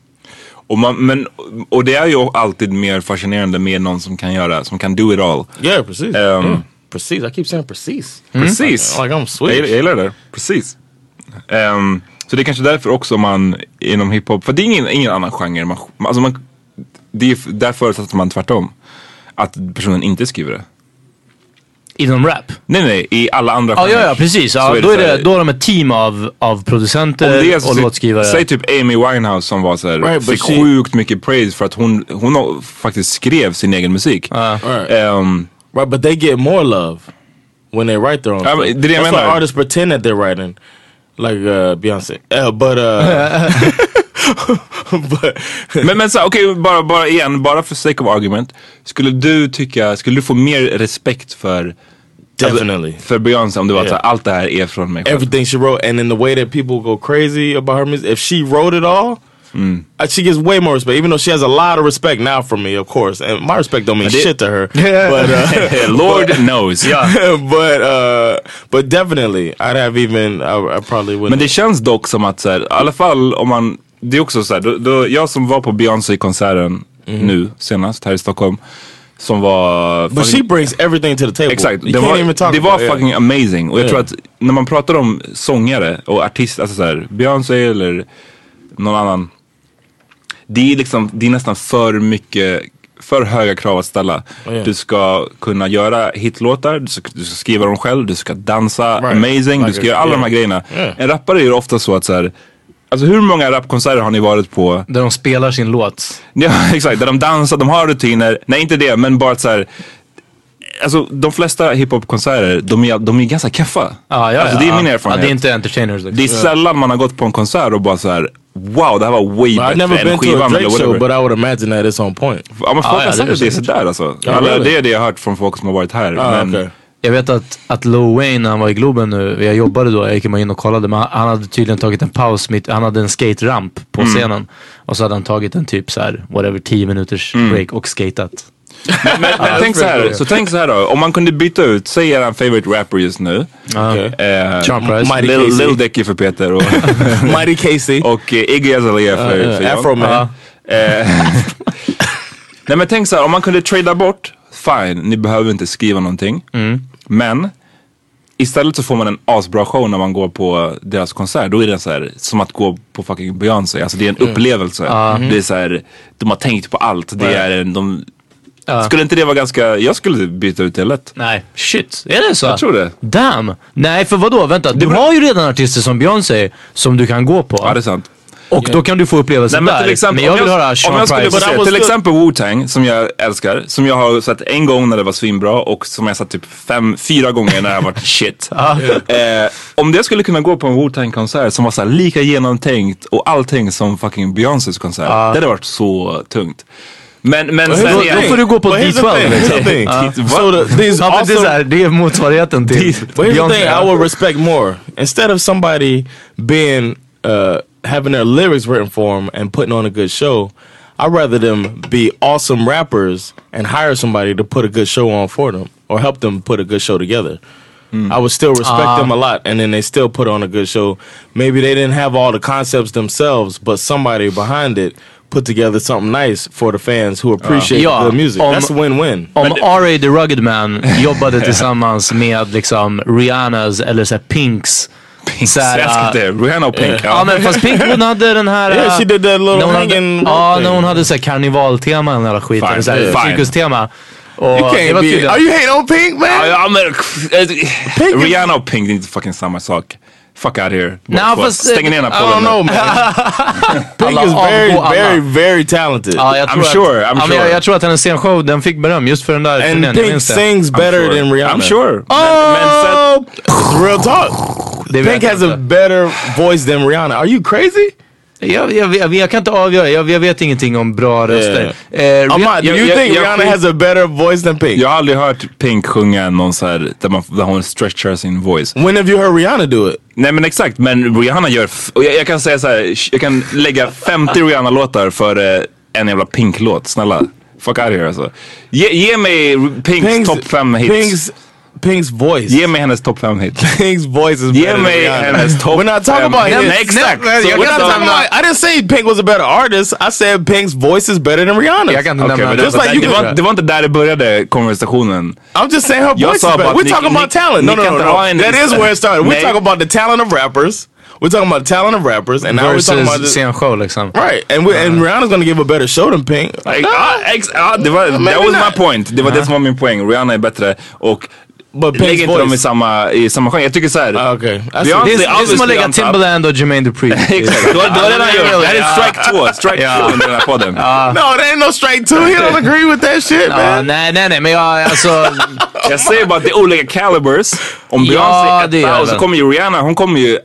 F: Och, man, men, och det är ju alltid mer fascinerande med någon som kan göra, som kan do it all.
C: Yeah, precise.
F: Um,
C: yeah, precise. I keep saying precise.
F: Precis.
C: Like
F: Mm. Jag,
C: I'm
F: jag
C: Swedish.
F: gillar det. Precis. Ehm, så det är kanske därför också man inom hiphop, för det är ingen, ingen annan genre. Man, man- alltså man, det är, där förutsätter man tvärtom. Att personen inte skriver det.
E: Inom rap?
F: Nej, nej, i alla andra
E: Ja, ja, ja precis.
F: så
E: Ja,
F: är
E: då, är
F: så här-
E: det, då har de ett team av, av
F: Om
E: producenter
F: det är så-
E: och låtskrivare.
F: Säg typ Amy Winehouse som var så här,
C: Right, but
F: fick
C: she-
F: sjukt mycket praise för att hon, hon faktiskt skrev sin egen musik.
C: Right.
F: Ehm,
C: Right, but they get more love when they write their own.
F: I
C: stuff.
F: mean, did they
C: That's
F: mean
C: why
F: that?
C: artists pretend that they're writing, like uh, Beyonce. Uh, but uh, but
F: Men, men så här, okej, bara, bara igen, bara för sake of argument. Skulle du tycka, skulle du få mer respekt för, Alltså,
C: definitely
F: för Beyoncé om du var
C: Yeah.
F: så här, allt det här är från mig själv?
C: everything she wrote, and in the way that people go crazy about her music, if she wrote it all.
F: Mm.
C: uh, She gets way more respect, even though she has a lot of respect now from me, of course. And my respect don't mean
F: did-
C: shit to her.
E: Yeah.
C: But uh,
F: Lord knows.
C: but uh, but definitely, I'd have even. I, I probably would.
F: Men det känns dock som att så här, i alla fall om man, det är också så här, då, då, jag som var på Beyoncé-konserten nu senast här i Stockholm. Som var...
C: Mm. But
F: fucking-
C: she brings everything to the table.
F: Exakt,
C: You
F: det
C: can't
F: var,
C: even talk
F: det var
C: about it.
F: fucking amazing. Och jag tror
C: Ja.
F: att när man pratar om sångare och artister, alltså såhär Beyoncé eller någon annan. Det är, liksom, det är nästan för mycket, för höga krav att ställa.
C: Ja.
F: Du ska kunna göra hitlåtar, du ska, du ska skriva dem själv, du ska dansa
C: Right.
F: amazing, du
C: Like
F: ska
C: a-
F: göra alla
C: ja.
F: de här grejerna.
C: Ja.
F: En rappare gör ofta så att såhär, alltså hur många rapkonserter har ni varit på?
E: Där de spelar sin låt.
F: Ja, exakt. Där de dansar, de har rutiner. Nej, inte det, men bara att så här. Alltså de flesta hiphopkonserter, de är, de är ganska keffa.
E: Ja, ja,
F: alltså,
E: ja,
F: det är
E: ja.
F: min erfarenhet.
E: Ja, det är inte entertainers. Liksom.
F: Det är sällan man har gått på en konsert och bara så här. Wow, det här var way
C: I've never
F: bättre
C: been
F: än
C: to a
F: skivan eller
C: Drake show,
F: whatever.
C: but I would imagine that it's on point.
F: Ja, men folk
E: Ah,
F: har
E: ja,
F: sagt
E: det är
F: att det är
E: säkert.
F: sådär alltså.
C: Ja,
F: eller,
C: really?
F: Det är det jag har hört från folk som har varit här.
C: Ah,
F: men,
C: okay.
E: Jag vet att, att Lil Wayne, när han var i Globen nu, jag jobbade då, jag gick in och kollade, men han, han hade tydligen tagit en paus, mitt, han hade en skate-ramp på
F: Mm.
E: scenen. Och så hade han tagit en typ så här, whatever, 10 minuters
F: Mm.
E: break och skatat.
F: men, men tänk så här, så tänk så här då. Om man kunde byta ut, säg er favorite rapper just nu.
C: Okay.
F: Eh,
E: Charm Price.
C: Mighty
F: Lil,
C: Casey.
F: Lil Dicky för Peter och,
C: Mighty Casey.
F: och eh, Iggy Azalea för,
C: Uh,
F: för John. Eh,
C: Afro Man.
F: Nej men tänk så här, om man kunde trada bort, fine, ni behöver inte skriva någonting. Men istället så får man en asbra show när man går på deras konsert. Då är det så här, som att gå på fucking Beyoncé. Alltså det är en upplevelse. Det är så här, de har tänkt på allt. Det är en, de, Skulle inte det vara ganska, jag skulle byta ut det lätt.
E: Nej, shit. Är det så?
F: Jag tror det.
E: Damn! Nej, för vadå? Vänta, du
F: beror-
E: har ju redan artister som Beyoncé som du kan gå på.
F: Ja det är sant.
E: Och då kan du få
F: Nej,
E: upplevelsen
F: men,
E: där.
F: till exempel,
E: men jag
F: om
E: vill höra
F: om
E: Sean
F: jag skulle bara
E: Price.
C: But I
F: säga,
C: was
F: till
C: good.
F: exempel Wu-Tang som jag älskar. Som jag har sett en gång när det var svinbra och som jag sett typ fem, fyra gånger när det har varit shit. eh, om det skulle kunna gå på en Wu-Tang konsert som var så här lika genomtänkt och allting som fucking Beyoncés konsert. Det hade varit så tungt. Men, men sen
E: Då,
F: igen.
E: då får du gå på
C: But here's the
E: D12.
C: thing, here's the thing.
E: Ja.
C: So the, these
E: Ja, men det, är så
C: also,
E: här, det är motsvarigheten till
C: but here's the
E: Beyoncé.
C: thing I would respect more. Instead of somebody being uh, having their lyrics written for them and putting on a good show, I'd rather them be awesome rappers and hire somebody to put a good show on for them. or help them put a good show together. I would still respect them a lot, and then they still put on a good show. Maybe they didn't have all the concepts themselves, but somebody behind it put together something nice for the fans who appreciate
E: Ja,
C: the music.
E: om-
C: That's a win-win.
E: Om R.A. The Rugged Man jobbade tillsammans med liksom Rihannas eller så här Pinks. så här,
F: jag
E: äh,
F: älskar det. Rihanna och Pink.
E: Ja men fast Pink hon hade den här...
C: Yeah,
E: äh,
C: she did that little
E: när hon
C: hanging
E: hade,
C: rope
E: Ja,
C: thing.
E: när hon hade såhär karnevaltema eller någon jävla skit.
F: Fine,
E: Eller såhär
F: yeah. Fine.
E: cirkustema. Och
C: You
E: det
C: can't
E: var
C: be.
E: tydligen-
C: Are you hating on Pink, man?
F: Ja, men, eh, Rihanna och Pink, det är inte fucking samma sak. Fuck out here. Båda
E: Nej,
F: två.
E: fast, eh,
F: Stäng ner den
C: I
F: här
C: don't
F: podden.
C: know, man. Pink is
E: Alla
C: very,
E: avgå, alla.
C: very, very talented.
E: Ja, jag
F: I'm
E: tror att,
F: sure, I'm
E: ja, men
F: sure.
E: Jag, jag tror att hennes scenshow, den fick beröm just för den där
C: and
E: turnén. Jag
C: Pink
E: minns det.
C: sings better
F: sure.
C: than Rihanna.
F: I'm sure.
C: Oh, real talk.
E: Det vet
C: Pink
E: jag
C: has a
E: inte.
C: better voice than Rihanna. Are you crazy?
E: Jag, jag, jag, jag kan inte avgöra. Jag, jag vet ingenting om bra
F: uh,
E: röster. Eh, Rih-
C: Ahmad, do
E: jag-
C: you
E: jag-
C: think
E: jag-
C: Rihanna has a better voice than Pink?
F: Jag har aldrig hört Pink sjunga någon så här, där, man, där hon stretchar sin voice.
C: When have you heard Rihanna do it?
F: Nej men exakt, men Rihanna gör... F- och jag, jag kan säga så här, sh- jag kan lägga 50 Rihanna-låtar för eh, en jävla Pink-låt. Snälla, fuck out here alltså. Ge, ge mig Pinks topp 5 hits.
C: Pink's, Pink's voice.
F: Ge mig hennes topp 5 hits.
C: Pink's voice
F: Ge
C: is better than
F: mig
C: Rihanna.
F: hennes topp
C: We're not talking
F: fem
C: about
F: hits.
C: him.
F: Nej, exakt.
C: So
F: Så
C: we're not
F: what the-
C: talking about, I didn't say Pink was a better artist. I said Pink's voice is better than Rihanna's.
E: Jag kan inte
F: Okej,
E: nämna
F: men
E: något.
F: det,
C: Just
F: var,
C: like
F: det,
C: you
F: var,
C: did.
F: det var inte där det började konversationen.
C: I'm just saying her
F: Y'all
C: voice is
F: saw
C: better.
F: about
C: We're
F: Nicki-
C: talking about
F: Nick-
C: talent. No, no,
F: Nick
C: no,
F: and
C: no.
F: Ryan
C: That
F: is-
C: is where it started. We're
F: Nick-
C: talking about the talent of rappers. We're talking about talent of rappers, and now we're talking about
E: Versus
C: the,
E: scenshow liksom.
C: right. And we and Rihanna's gonna give a better show than Pink.
F: Uh-huh. Like,
C: No,
F: ah, ex, ah, det var,
C: maybe
F: that was
C: not. Uh-huh.
F: my point. Det var det som var min poäng. Rihanna är bättre och
C: But
F: lägg
C: Pink's
F: inte dem i
C: voice.
F: samma, i samma genre. Jag tycker såhär.
C: Ah, okay. I see.
E: Alltså, Det är, det är som att
F: obviously
E: lägga
F: on top.
E: Timbaland och Jermaine Dupri.
F: Exakt, du har du har redan gjort. Det här är strike två. Strike
E: Ja.
F: två under den här podden.
C: No, there ain't no straight two. He don't agree with that shit,
E: Ja,
C: man.
E: nej, nej, nej, men jag alltså...
F: Jag säger bara att det är olika calibers. Om
E: Ja, det
F: Beyoncé
E: gör
F: är etta och så
E: den.
F: kommer ju Rihanna, hon kommer ju, uh,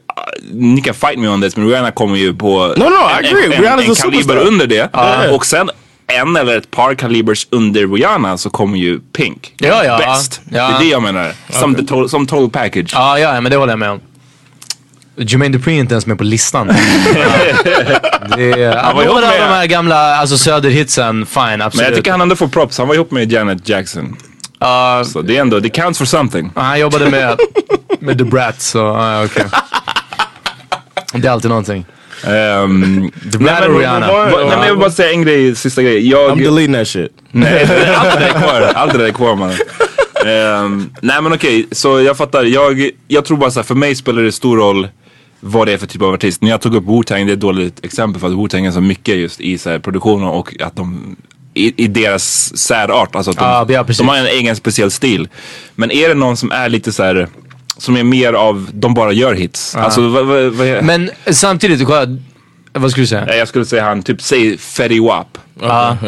F: ni kan fight me on this, men Rihanna kommer ju på
C: No, no, I agree.
F: en,
C: Rihanna's
F: en
C: a
F: kaliber
C: superstar.
F: under det. Och sen en eller ett par kalibers under Rihanna så kommer ju Pink.
E: Ja, ja.
F: Bäst.
E: Ja.
F: Det är det jag menar. Som, the total, som total package.
E: Ja, ja, ja, men det håller jag med om. Jermaine Dupri är inte ens med på listan. det är,
F: var ihop
E: några av
F: med-
E: de här gamla alltså, söderhitsen, fine, absolut.
F: men jag tycker han ändå får props. Han var ihop med Janet Jackson.
E: Ja,
F: Så det är ändå, det counts for something.
E: Ja, Han jobbade med, med The Brat, så ja, okej. Det är alltid någonting.
C: Mm.
F: Um,
E: Brat och Rihanna.
F: Nej, men jag vill bara säga en grej, sista grej. Jag,
C: I'm deleting that shit.
F: Nej, allt det där är kvar. Allt det där är kvar man. Ehm, nej men okej, så jag fattar. Jag, jag tror bara så här, för mig spelar det stor roll vad det är för typ av artist. När jag tog upp Wu-Tang, det är ett dåligt exempel för att Wu-Tang är så mycket just i så här, produktionen och att de i, i deras särart, alltså att de,
E: Ja, ja, precis.
F: de har en egen speciell stil. Men är det någon som är lite så här som är mer av, de bara gör hits. Alltså vad, vad, vad är,
E: Men samtidigt, kolla, vad skulle du säga?
F: Nej, Jag skulle säga han, typ säg Fetty Wap.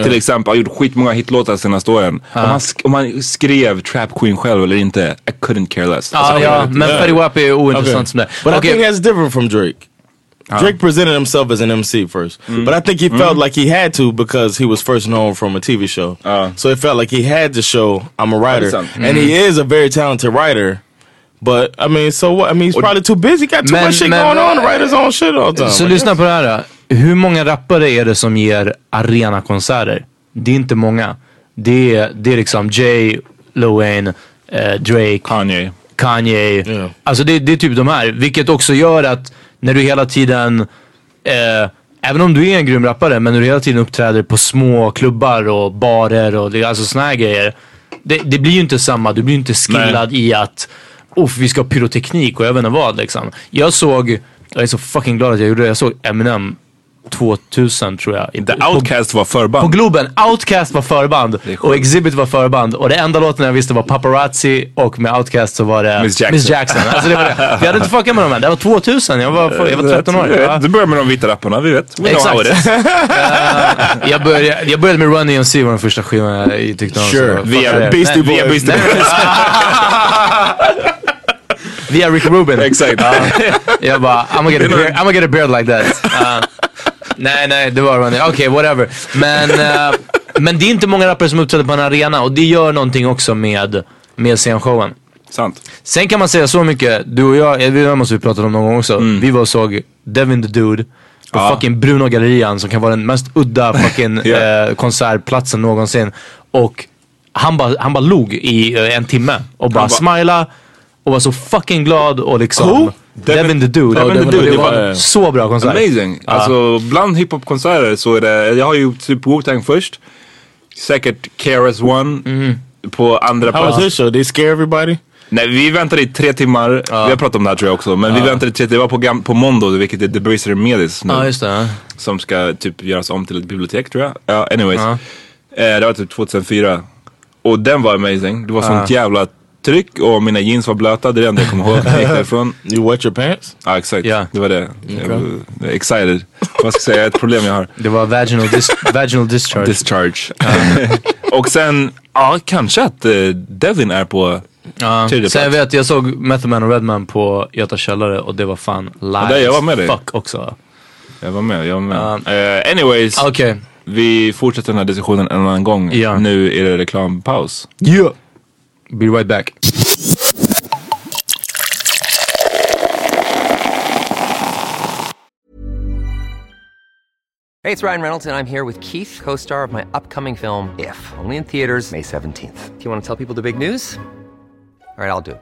F: Till exempel, har gjort skitmånga hitlåtar de senaste åren. Om, han sk- om han skrev Trap Queen själv eller inte, I couldn't care less.
E: Ja,
F: Alltså,
E: ja, men Fetty Wap är ointressant
C: Okay.
E: som det
C: But I
E: Okej.
C: think that's different from Drake. Drake presented himself as an MC first,
F: Mm.
C: but I think he felt like he had to because he was first known from a TV show. so it felt like he had to show I'm a writer,
F: Ah. Understand. Mm-hmm.
C: and he is a very talented writer. But I mean, so what? I mean, he's probably too busy. Got too
E: Men-
C: much shit
E: men-
C: going on to write his own shit all the time.
E: Så
C: I
E: lyssna
C: guess.
E: på det här då. Hur många rappare är det som ger arenakonserter? Det är inte många. Det är, det är liksom Jay, Lil Wayne, eh, Drake,
F: Kanye.
E: Kanye.
C: Ja.
E: Alltså det, det är typ de här. Vilket också gör att när du hela tiden, eh, även om du är en grym rappare, men när du hela tiden uppträder på små klubbar och barer och det, alltså såna här grejer. Det, det blir ju inte samma. Du blir ju inte skillad i att Uff, vi ska ha pyroteknik och jag vet inte vad liksom. Jag såg, jag är så fucking glad att jag gjorde det. Jag såg Eminem 2000 tror jag. i-
F: The
E: på-
F: Outcast var
E: på
F: förband.
E: Globen, Outcast var förband
F: Det är sjukt.
E: och Exhibit var förband. Och det enda låten jag visste var Paparazzi och med Outcast så var det
F: Miss Jackson.
E: Alltså det var det. Vi hade inte fuckat med dem än. Det var 2000, jag var, jag var 13 år.
F: Du
E: Ja.
F: Eh, vet, Du börjar med de vita rapparna, vi vet. We know how it is.
E: Exakt. Eh, jag, började, jag började med Run DMC var den första skivan jag tyckte om.
C: Sure.
E: så-
F: Via
E: fuck det.
F: Beastie
E: Nej,
F: Boys.
E: via Beastie Boys. Via Rick Rubin.
F: Exakt.
E: Jag bara, I'm gonna, get a beard, I'm gonna get a beard like that. Uh, nej, nej, det var Ronny. Okej, whatever. Men, eh, men det är inte många rappare som uppträder på en arena och det gör någonting också med, med scenshowen.
F: Sant.
E: Sen kan man säga så mycket, du och jag, eh, det måste vi prata om någon gång också. Vi var och såg Devin the Dude på
F: Mm. Ja.
E: fucking Bruno Gallerian som kan vara den mest udda fucking
F: Ja.
E: eh, konsertplatsen någonsin. Och han bara han bara log i eh, en timme och bara
F: bara-
E: smila och var så fucking glad och liksom...
F: Who?
E: Devin,
F: Devin-
E: the Dude.
F: Devin the Dude,
E: Det
F: det
E: var
F: var-
E: så bra konsert.
F: Amazing!
E: Ja.
F: Alltså bland hiphopkonserter så är det, jag har ju typ Wu-Tang först, säkert KRS-One
E: Mm.
F: på andra
C: How was
F: plats.
C: his
E: uh,
C: show? Did he scare everybody?
F: Nej, vi väntade i tre timmar, vi har pratat om det här tror jag också, men vi väntade i tre timmar, det var på, gam- på Mondo, vilket är Debaser Medis nu.
E: Ja, just det.
F: som ska typ göras om till ett bibliotek tror jag. Ja, anyways. Eh, det var typ 2004. Och den var amazing. Det var sånt jävla tryck och mina jeans var blöta. Det är det enda jag kommer ihåg. när Jag gick därifrån.
C: You wet your pants?
F: Ja, exakt.
E: Ja.
F: Det var det. Jag var excited. Vad ska jag säga? Ett problem jag har.
E: Det var vaginal, dis vaginal discharge.
F: Discharge. och sen, ja kanske att eh, Devin är på
E: Ja.
F: tredje
E: Sen jag
F: plats.
E: vet, jag såg Method Man och Redman på Göta källare och det var fan live.
F: där, jag var med dig.
E: Fuck också.
F: Jag var med, jag var med. Eh, anyways,
E: Ah, Okej.
F: vi fortsätter den här diskussionen en annan gång.
E: Ja.
F: Nu är det reklampaus.
E: Yeah. Be right back.
H: Hey, it's Ryan Reynolds, and I'm here with Keith, co star of my upcoming film, If, only in theaters, May 17th. Do you want to tell people the big news? All right, I'll do it.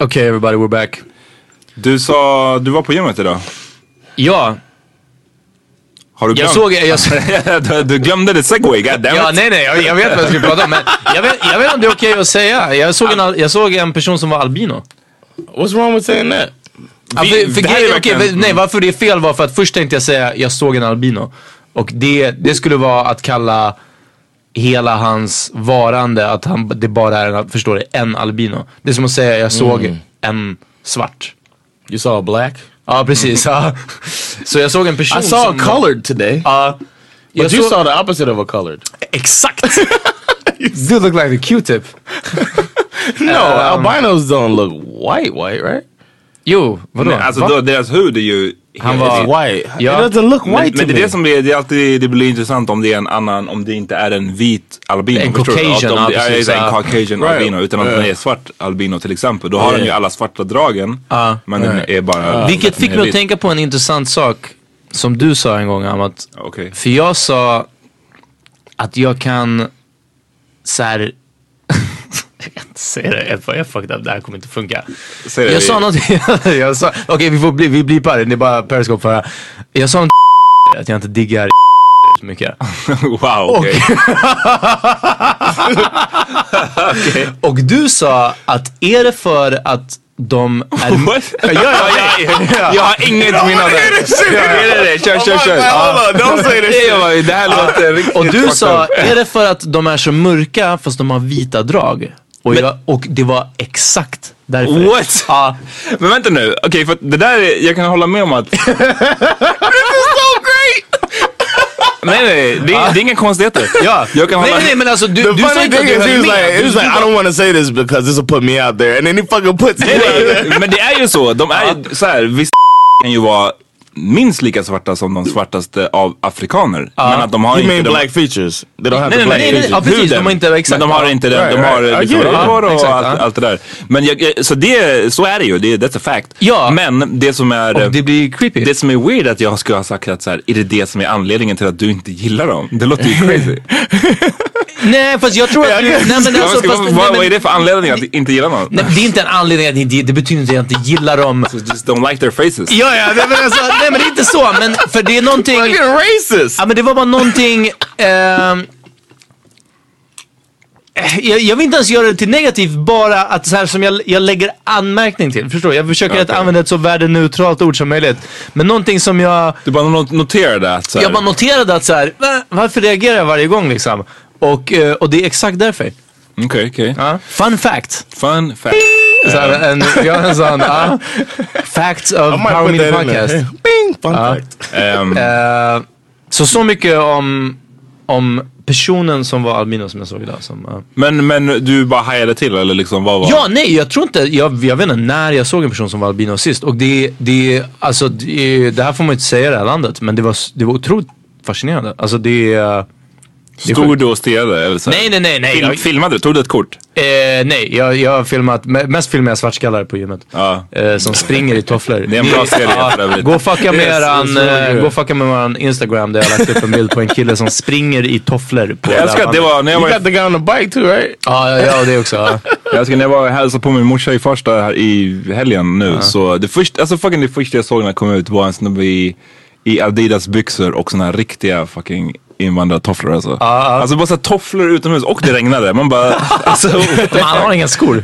E: Okej everybody, we're back.
F: Du sa, du var på gymmet idag.
E: Ja,
F: Har du glömt?
E: jag såg... Jag såg
F: du, du glömde det segway, goddammit.
E: Ja, nej, nej, jag, jag vet vad jag skulle prata om. Men jag vet, jag vet inte om det är okej att säga. Jag såg, en, al- jag såg en person som var albino.
C: What's wrong with saying that?
E: Ja,
F: Vi-
E: för, för,
F: det här är
E: grejen-
F: verkligen-
E: okej, för, nej, varför det är fel var för att först tänkte jag säga jag såg en albino. Och det, det skulle vara att kalla hela hans varande, att han, det bara är, en- förstår du, en albino. Det är som att säga jag såg en svart.
C: You saw a black?
E: Ja, precis. Ja. Så jag såg en person
C: I saw a
E: som-
C: colored
E: Eh?
C: today.
F: Uh,
E: Ja.
C: but
E: jag
C: you
E: såg-
C: saw the opposite of a colored.
E: Exakt! Dude look like a Q-tip.
C: No,
E: Um,
C: albinos don't look white, white, right?
E: Jo, vadå?
F: Nej, alltså
E: Va?
F: då, deras hud är ju...
E: Han
C: It's
E: var-
C: white.
E: yeah.
C: It doesn't look
F: Men,
C: white
F: men
C: to
F: det är
C: me.
F: det som blir, det, är alltid, det blir intressant om det är en annan, om det inte är en vit albino.
E: En
F: förstår du? Att
E: Caucasian,
F: om det
E: ja,
F: är,
E: precis,
F: en
E: ja.
F: Caucasian
C: Right.
F: albino. Utan att
C: Yeah.
F: den är svart albino till exempel. Då har den ju
C: Yeah.
F: alla svarta dragen.
E: Ja.
F: Men den är bara...
E: Vilket
F: den är
E: fick mig att
F: vit.
E: tänka på en intressant sak som du sa en gång Amat.
F: Okej.
E: För jag sa att jag kan så här. jag kan inte säga det, jag jag fucked up, det här kommer inte funka.
F: Säg det.
E: Jag sa något, jag sa, okej vi får bli, vi blipar det, det är bara periscope för det här. Jag sa en att jag inte diggar så mycket.
F: Wow, okej.
E: Och du sa att är det för att de är...
F: What?
E: Ja, ja, ja, ja, ja.
F: Jag har inget minne av det. Ja, nej, nej, nej. Kör, kör, kör.
E: Hold on, don't say this shit.
F: Ja, men Det här låter riktigt
E: Och du
F: fucked
E: sa,
F: up.
E: är det för att de är så mörka fast de har vita drag? Och, jag, och det var exakt därför.
F: What?
E: Ja.
F: Men vänta nu, okej för att det där är, jag kan hålla med om att... This is so great! nej nej, det, är- det är inga konstigheter.
E: Ja.
F: Jag kan
E: nej,
F: hålla
E: nej, nej, men alltså du,
C: The
E: du sa
C: funny
E: inte att
C: thing
E: du
C: is, he
E: höll
C: was
E: med.
C: like, he
E: Du
C: was like, I don't want to say this because this will put me out there, and then he fucking puts me out
F: Nej,
C: there.
F: nej, men det är ju så, de är ju så här, vissa kan ju vara minst lika svarta som de svartaste av afrikaner.
C: Ja.
F: men att de har
C: You
F: inte
C: mean
F: de,
C: black features? They don't
F: nej,
C: have the
F: nej,
C: black
F: nej, nej, nej,
C: features.
F: ja, precis,
C: Huden.
F: de har inte exakt, men de har inte den,
C: Right,
F: de har
C: right. I
F: liksom
C: get it.
F: hår och
E: exakt,
F: allt,
E: ja.
F: allt det där. Men jag, jag- så, det, så är det ju, det, that's a fact.
E: Ja.
F: Men det som är...
E: Och det blir creepy.
F: Det som är weird är att jag skulle ha sagt att så här, är det det som är anledningen till att du inte gillar dem? Det låter ju crazy.
E: Nej, fast jag tror att... du- Nej, men
F: Ja,
E: alltså,
F: men ska-
E: fast,
F: vad,
E: nej, men-
F: vad är det för anledning att inte gilla någon?
E: Nej, men det är inte en anledning att ni, det, det betyder inte att jag inte gillar dem.
F: Just don't like their faces.
E: Ja, ja, nej, men alltså, nej men det är inte så, men för det är någonting...
C: Fucking racist!
E: Ja men det var bara någonting... ehm, jag, jag vill inte ens göra det till negativt, bara att så här som jag, jag lägger anmärkning till. Förstår du? Jag försöker att
F: Okej.
E: använda ett så värdeneutralt ord som möjligt. Men någonting som jag...
F: Du bara not- noterade att så här,
E: Jag bara noterade att så här, "Va? varför reagerar jag varje gång liksom? Och, eh, och det är exakt därför.
F: Mm, Okej, okej.
E: Ja. Fun fact.
F: Fun fact.
E: Så här, en, vi har en sån, ja. Facts of
C: I might
E: Power
C: put
E: Media
C: that in there.
E: Podcast.
C: Bing! Fun fact.
F: Ehm,
E: Eh, så så mycket om, om personen som var Albino som jag såg idag. Som, eh, ja.
F: men, men du bara hajade till eller liksom vad var
E: ja, nej, jag tror inte, jag, jag vet inte när jag såg en person som var albino sist. Och det, det, alltså, det, det här får man ju inte säga i det här landet, men det var, det var otroligt fascinerande. Alltså det, eh,
F: Stod du och stirrade? Eller så här?
E: Nej, nej, nej, nej.
F: Film,
E: Jag-
F: filmade du? Tog du ett kort?
E: eh, nej, jag, jag har filmat, me- mest filmar jag svartskallar på gymmet.
F: Ja.
E: Eh, som springer i tofflor.
F: Det är en bra serie för övrigt.
E: Gå och fucka med
C: Yes,
E: eran,
C: that's really
E: eh,
C: good.
E: gå och fucka med våran Instagram där jag har lagt upp en bild på en kille som springer i tofflor. På
F: Jag älskar att det var när jag
C: You
F: var,
C: got the guy on the bike too right?
E: Ja, ja, ja, det också. ja.
F: jag älskar när jag var och hälsade på min morsa i Farsta här i helgen nu. Så det första, alltså fucking det första jag såg när jag kom ut var en snubbe i, i Adidas byxor och såna här riktiga fucking invandrartofflor alltså.
E: Ah,
F: Alltså bara såhär tofflor utomhus och det regnade. Man bara, alltså.
E: Men han har inga skor.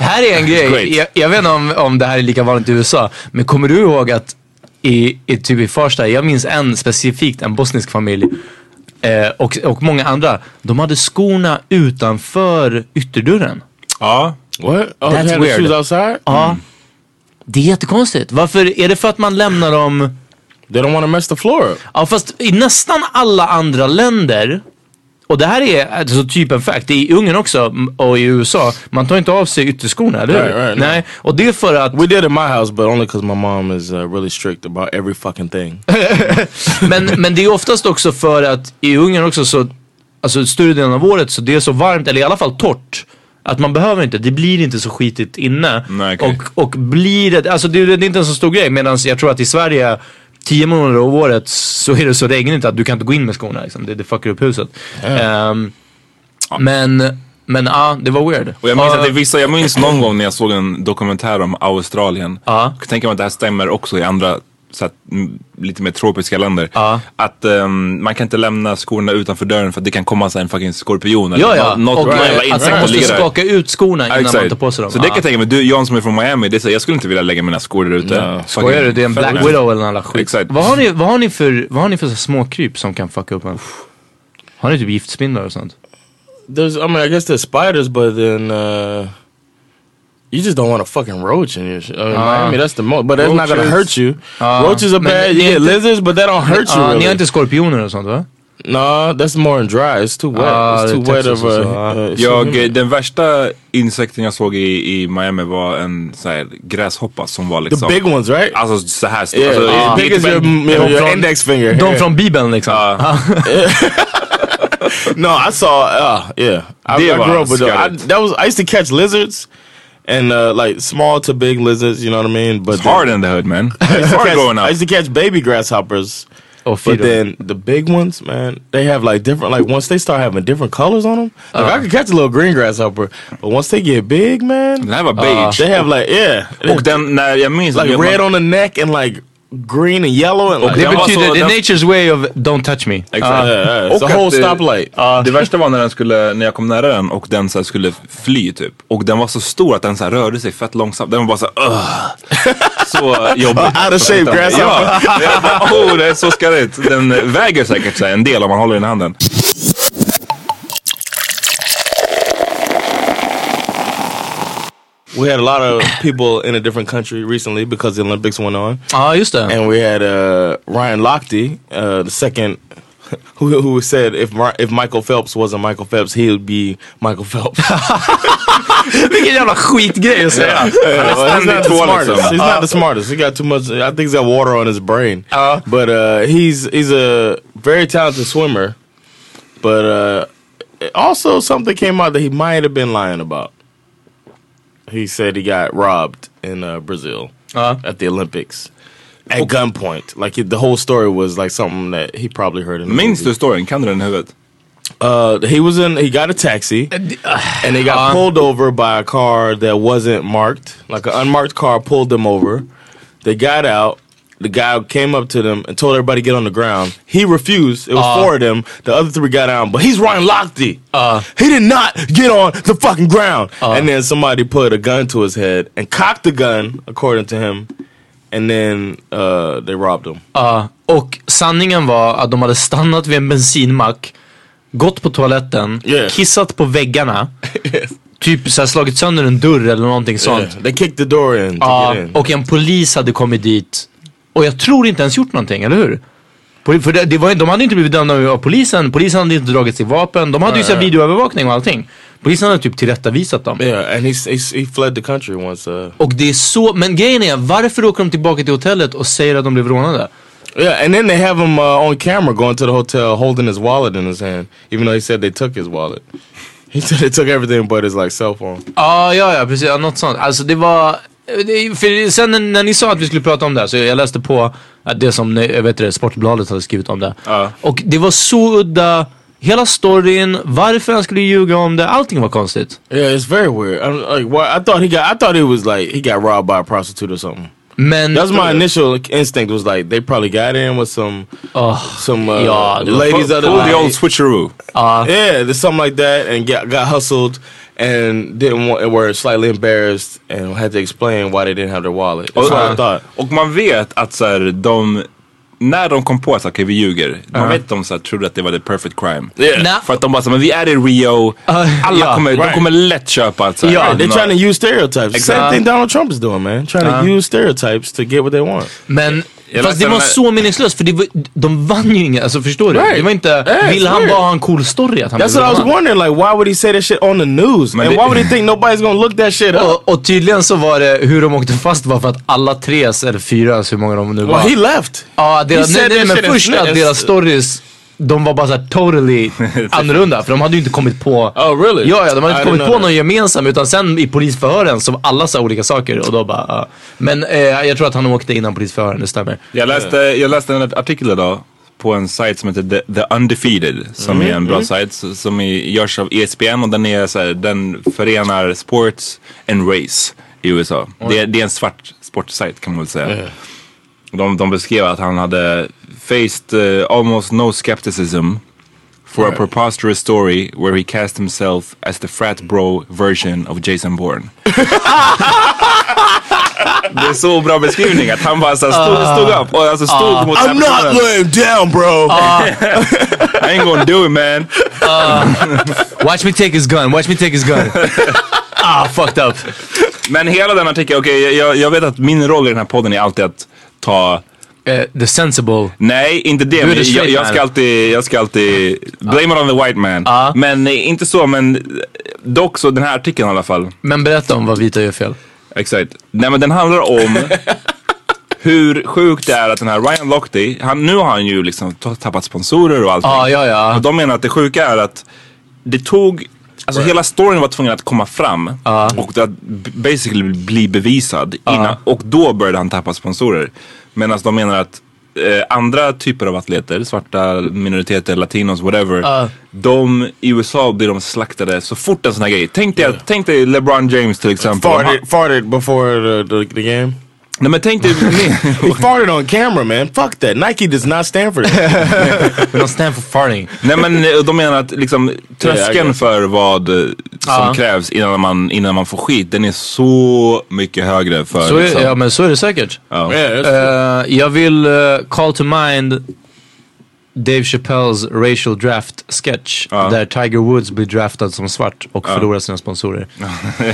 E: här är en
F: Great.
E: grej. Jag, jag vet inte om, om det här är lika vanligt i USA, men kommer du ihåg att i, i, typ i Farsta, jag minns en specifikt, en bosnisk familj eh, och, och många andra. De hade skorna utanför ytterdörren.
F: ja. Mm.
C: What? Oh,
E: That's
C: they had the
E: weird. Uh-huh.
C: shoes outside?
E: Ja. Det är jättekonstigt. Varför? Är det för att man lämnar dem...
C: They don't want to mess the floor up.
E: Ja, fast i nästan alla andra länder, och det här är alltså typ en fact, det är i Ungern också m- och i USA, man tar inte av sig ytterskorna, eller hur?
C: Right, right,
E: Nej, och det är för att,
C: We did in my house, but only because my mom is uh, really strict about every fucking thing.
E: men, men det är oftast också för att i Ungern också så, alltså större delen av året så det är så varmt, eller i alla fall torrt. Att man behöver inte, det blir inte så skitigt inne.
F: Nej, okej.
E: och, och blir det, alltså det, det är inte en så stor grej. Medan jag tror att i Sverige, tio månader av året så är det så regnigt att du kan inte gå in med skorna. Liksom. Det, det fuckar upp huset. Ehm, Men, men ja, ah, det var weird.
F: Och jag minns,
E: Ja,
F: att det är vissa, jag minns någon gång när jag såg en dokumentär om Australien.
E: Ja.
F: Jag tänker mig att det här stämmer också i andra så att, mm, lite mer tropiska länder.
E: Ja.
F: Att ehm, man kan inte lämna skorna utanför dörren för att det kan komma så här en fucking skorpion eller
E: Ja, ja.
F: nå- något
E: och
F: jävla
E: eh, att
F: insekt
E: man
F: som
E: måste
F: ligger där.
E: skaka ut skorna
F: Ja,
E: innan man tar på sig dem.
F: Så det kan
E: Ja.
F: jag tänka mig. Du, John som är från Miami, det är så, jag skulle inte vilja lägga mina skor där ute. Fucking
E: Skojar du? Det är en Black
F: fett.
E: Widow eller någon jävla skit.
F: Exakt.
E: Vad har ni, vad har ni för, vad har ni för så småkryp som kan fucka upp en? Har ni typ giftspindlar och sånt?
C: There's, I mean, I guess there's spiders, but then uh, you just don't want a fucking roach in your shit. I mean, Miami, that's the most, but that's not gonna hurt
F: Roaches.
C: you. Roaches are
E: Uh-huh. man,
C: bad. You
E: they-
C: get lizards, but that don't hurt you.
E: Ah, Ni
C: really.
E: har inte skorpioner och sånt va?
C: No, that's more in dry. It's too wet.
E: Ah,
C: it's
E: the
C: too wet
E: Texas
C: of a.
E: is, uh,
C: Uh, it's too
F: Jag, eh,
C: humid.
F: den värsta insekten jag såg i, i Miami var en så här, gräshoppa som var
C: the
F: liksom
C: big ones, right?
F: Alltså så här stor.
C: yeah,
F: Alltså,
E: Ah.
F: det
C: as
F: är
C: big
F: typ
C: as your,
F: en-
C: your, your
E: from-
C: index finger.
E: De
C: Yeah.
E: från bibeln liksom.
F: Ja.
C: No, I saw. Uh, yeah, I, I
F: Deer
C: grew up
F: lions,
C: with those. I,
F: got it.
C: that was I used to catch lizards, and uh, like small to big lizards. You know what I mean? But
F: It's hard in the hood man. It's
C: I, used to
F: hard
C: catch,
F: growing
C: I
F: up.
C: used to catch baby grasshoppers,
E: Och
C: but
E: Fido.
C: then the big ones, man, they have like different. Like once they start having different colors on them, like I could catch a little green grasshopper, but once they get big, man, uh,
F: Den här var beige.
C: they have like yeah,
F: och den, när jag minns...
C: like
F: jag,
C: red on the neck and like green and yellow and like.
E: Det
F: den var
E: betyder,
F: så-
E: the
F: den-
E: nature's way of don't touch me.
F: Exakt.
C: yeah, it's
F: Och
C: a whole
F: att, eh,
C: stoplight.
E: Ah.
F: Det värsta var när den skulle, när jag kom nära den och den så här skulle fly typ. Och den var så stor att den så här rörde sig fett långsamt. Den var bara så här, "Ugh." Så jobbigt.
C: Out of shape grasshopper.
F: Ja, jag bara, oh, det är så skarrigt. Den väger säkert så här, en del om man håller den i handen.
C: We had a lot of people in a different country recently because the Olympics went on.
E: Ja, ah, just det.
C: And we had uh, Ryan Lochte, uh, the second who who said if Mar- if Michael Phelps wasn't Michael Phelps, he would be Michael Phelps.
E: Vilken jävla skitgrej att säga.
C: well, he's not the
F: Two
C: smartest. Uh,
F: Alex.
C: He's not the smartest. He got too much. I think he's got water on his brain. but uh, he's he's a very talented swimmer. But uh, also something came out that he might have been lying about. He said he got robbed in uh, Brazil
E: Ja.
C: at the Olympics at gunpoint. Like he, the whole story was like something that he probably heard in the
F: Minns
C: movie.
F: du storyn? Kan du den i huvudet?
C: Uh, he was in. He got a taxi, and they got pulled over by a car that wasn't marked. Like an unmarked car pulled them over. They got out. The guy came up to them and told everybody to get on the ground. He refused. It was four of them. The other three got on, but he's Ryan Lochte. he did not get on the fucking ground. and then somebody put a gun to his head and cocked the gun, according to him. And then uh, they robbed him.
E: Ja, och sanningen var att de hade stannat vid en bensinmack, gått på toaletten,
C: Yeah.
E: kissat på väggarna, typ så här slagit sönder en dörr eller någonting sånt.
C: They kicked the door in to
E: Ja,
C: get in.
E: och en polis hade kommit dit och jag tror inte ens gjort någonting, eller hur? Poli- För det, det var, ju- de hade inte blivit dömda av polisen, polisen hade inte dragit sig vapen, de hade ju så här videoövervakning och allting. Polisen hade typ tillrättavisat dem.
C: Yeah, and he's, he's he fled the country once. Uh,
E: Och det är så, men grejen är varför åker de tillbaka till hotellet och säger att de blev rånade?
C: yeah, and then they have him uh, on camera going to the hotel holding his wallet in his hand, even though he said they took his wallet. He said they took everything but his like cell phone.
E: Ja, ja, ja, precis. Ja, något sånt. Alltså det var... Det, för sen när, när ni sa att vi skulle prata om det här så jag läste på att det som ni- jag vet det, Sportbladet hade skrivit om det. Och det var så udda. Hela storyn, varför han skulle ljuga om det, allting var konstigt.
C: Yeah, it's very weird. I'm like, why? I thought he got. I thought it was like he got robbed by a prostitute or something.
E: Men...
C: That's my initial instinct was like they probably got in with some
E: Ah.
C: some uh,
E: yeah, the-
C: ladies out
F: Pull the
C: there.
F: old switcheroo.
C: Yeah, there's something like that, and got got hustled, and didn't want, and were slightly embarrassed, and had to explain why they didn't have their wallet.
E: Oh,
C: That's what
E: uh,
C: I thought.
F: Och man vet att så här, de, när de kom på att okay, vi ljuger, man vet att de så här, trodde att det var the perfect crime.
E: Nä.
F: För att de bara så här, men vi är i Rio, alla
E: ja,
F: kommer, de
C: right.
F: kommer lätt köpa att så här,
C: Yeah, they're
F: nå-
C: trying to use stereotypes.
F: Exactly.
C: Same thing Donald Trump is doing, man. Trying to use stereotypes to get what they want.
E: Men,
F: Jag
E: fast
F: läste
E: det var
F: den här-
E: så meningslöst för det var, de vann ju inget, alltså förstår du?
C: Right.
E: Det var inte,
C: Yeah,
E: vill han
C: sure.
E: bara ha en cool story att han
C: That's
E: blev
C: what I was
E: rånad?
C: wondering. Like, why would he say that shit on the news?
F: Man,
C: and
F: they-
C: why would he think nobody's gonna look that shit up?
E: Och, och tydligen så var det hur de åkte fast var för att alla tre, eller fyra, så hur många de nu var.
C: Well, he left.
E: Ja,
C: He
E: deras, nej,
C: said
E: nej,
C: that
E: men
C: shit is
E: först
C: lit-
E: att
C: is-
E: deras stories, de var bara såhär totally annorlunda. För de hade ju inte kommit på...
C: Oh, really?
E: Ja, ja, de hade
C: I
E: inte
C: didn't
E: kommit
C: know
E: på
C: that.
E: någon gemensam. Utan sen i polisförhören så alla sa olika saker och då bara... ja. Men eh, jag tror att han åkte innan polisförhören, det stämmer.
F: Jag läste, jag läste en artikel idag på en sajt som heter The, The Undefeated som
C: Mm-hmm. Mm.
F: är en bra sajt s- som är, görs av E ESPN och den, är så här, den förenar sports and race i USA. Det, är- det är en svart sportsajt kan man väl säga.
C: Eh.
F: De, de beskrev att han hade faced eh, almost no skepticism for a preposterous story where he cast himself as the frat bro version of Jason Bourne. Det är så bra beskrivning att han bara så här stod, stod upp och alltså stod mot den här
C: Ah. I'm not
E: Mm-hmm.
F: personen.
C: laying down, bro.
F: I ain't gonna do it man.
E: Watch me take his gun, watch me take his gun. ah, fucked up.
F: Men hela den artikeln, okej jag, jag vet att min roll i den här podden är alltid att ta
E: Eh, the sensible.
F: Nej, inte det.
E: är
F: Men
E: det
F: jag,
E: straight
F: jag, ska
E: man.
F: alltid, jag ska alltid blame it on the white man.
E: Ja.
F: Men eh, inte så, men dock så den här artikeln i alla fall.
E: Men berätta om vad vita gör fel.
F: Exakt. Nej men den handlar om hur sjukt det är att den här Ryan Lochte, han, nu har han ju liksom ta- tappat sponsorer och allting.
E: Ah, ja, ja.
F: Och de menar att det sjuka är att det tog, alltså hela storyn var tvungen att komma fram och att b- basically bli bevisad innan, och då började han tappa sponsorer. Medan de menar att eh, andra typer av atleter, svarta minoriteter, latinos, whatever. De i USA blir de slaktade så fort en sån här grej. Tänk dig, tänk dig LeBron James till exempel. Om han-
E: Mm-hmm.
C: farted, farted before the, the, the game.
F: Nej men tänk dig,
C: He farted on camera, man. Fuck that. Nike does not stand for that.
E: We don't stand for farting.
F: nej men eh, de menar att liksom
C: Yeah, I
F: tröskeln
C: guess.
F: för vad eh, som
E: Ja.
F: krävs innan man, innan man får skit, den är så mycket högre för
E: Så är,
F: liksom,
E: ja, men så är det säkert.
F: ja.
C: yeah, that's
E: Eh, jag vill eh, call to mind Dave Chappelles racial draft sketch där Tiger Woods blir draftad som svart och förlorar sina sponsorer.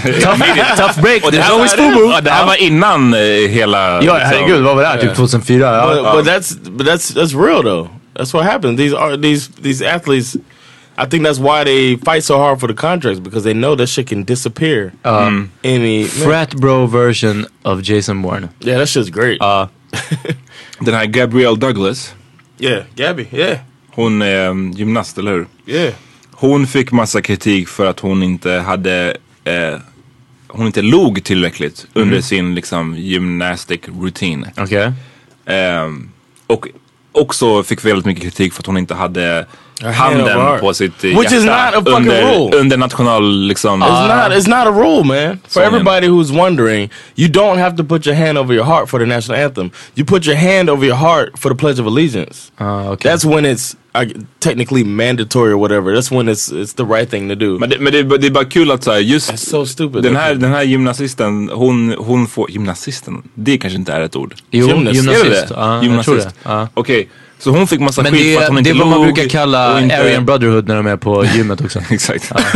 E: tough, tough break,
F: Och det
E: there's
F: här,
E: always full move.
F: var, ja, det här var innan eh, hela...
E: Ja, herregud, vad var det här? Typ 2004? Ja.
C: Uh, um, but, but that's but that's that's real though. That's what happens. These are these these athletes. I think that's why they fight so hard for the contracts because they know that shit can disappear. Mm-hmm.
E: Um,
C: any
E: Frat bro version of Jason Bourne.
C: Yeah, that shit's great.
E: Uh,
F: Den här Gabrielle Douglas,
C: yeah, Gabby. Yeah,
F: hon är mm, gymnast, eller hur?
C: yeah.
F: Hon fick massa kritik för att hon inte hade eh, hon inte log tillräckligt under sin liksom gymnastic routine.
E: Okej.
F: Ehm, och också fick väldigt mycket kritik för att hon inte hade
C: hand of
F: handen
C: art.
F: på sitt eh,
C: Which is
F: hjärta
C: not a fucking
F: under,
C: rule.
F: under national liksom.
C: It's not. It's not a rule, man. For
F: So,
C: everybody who's wondering, you don't have to put your hand over your heart for the national anthem. You put your hand over your heart for the Pledge of Allegiance.
E: Ah, okay.
C: That's when it's uh, technically mandatory or whatever. That's when it's it's the right thing to do.
F: Men, det, men det, det är bara kul att så här, just
C: That's so stupid.
F: den, här, den här gymnasisten, hon, hon får, gymnasisten, det kanske inte är ett ord.
E: Jo,
C: Gymnast.
E: gymnasist.
F: Är det det?
E: Ja, jag tror det.
F: Gymnasist.
E: Ja.
F: Okej, så hon fick massa
E: Men
F: skit för att
E: det,
F: hon
E: det
F: inte
E: är vad man
F: log
E: brukar kalla
F: och inte-
E: Aryan Brotherhood när de är på gymmet också.
F: Exakt.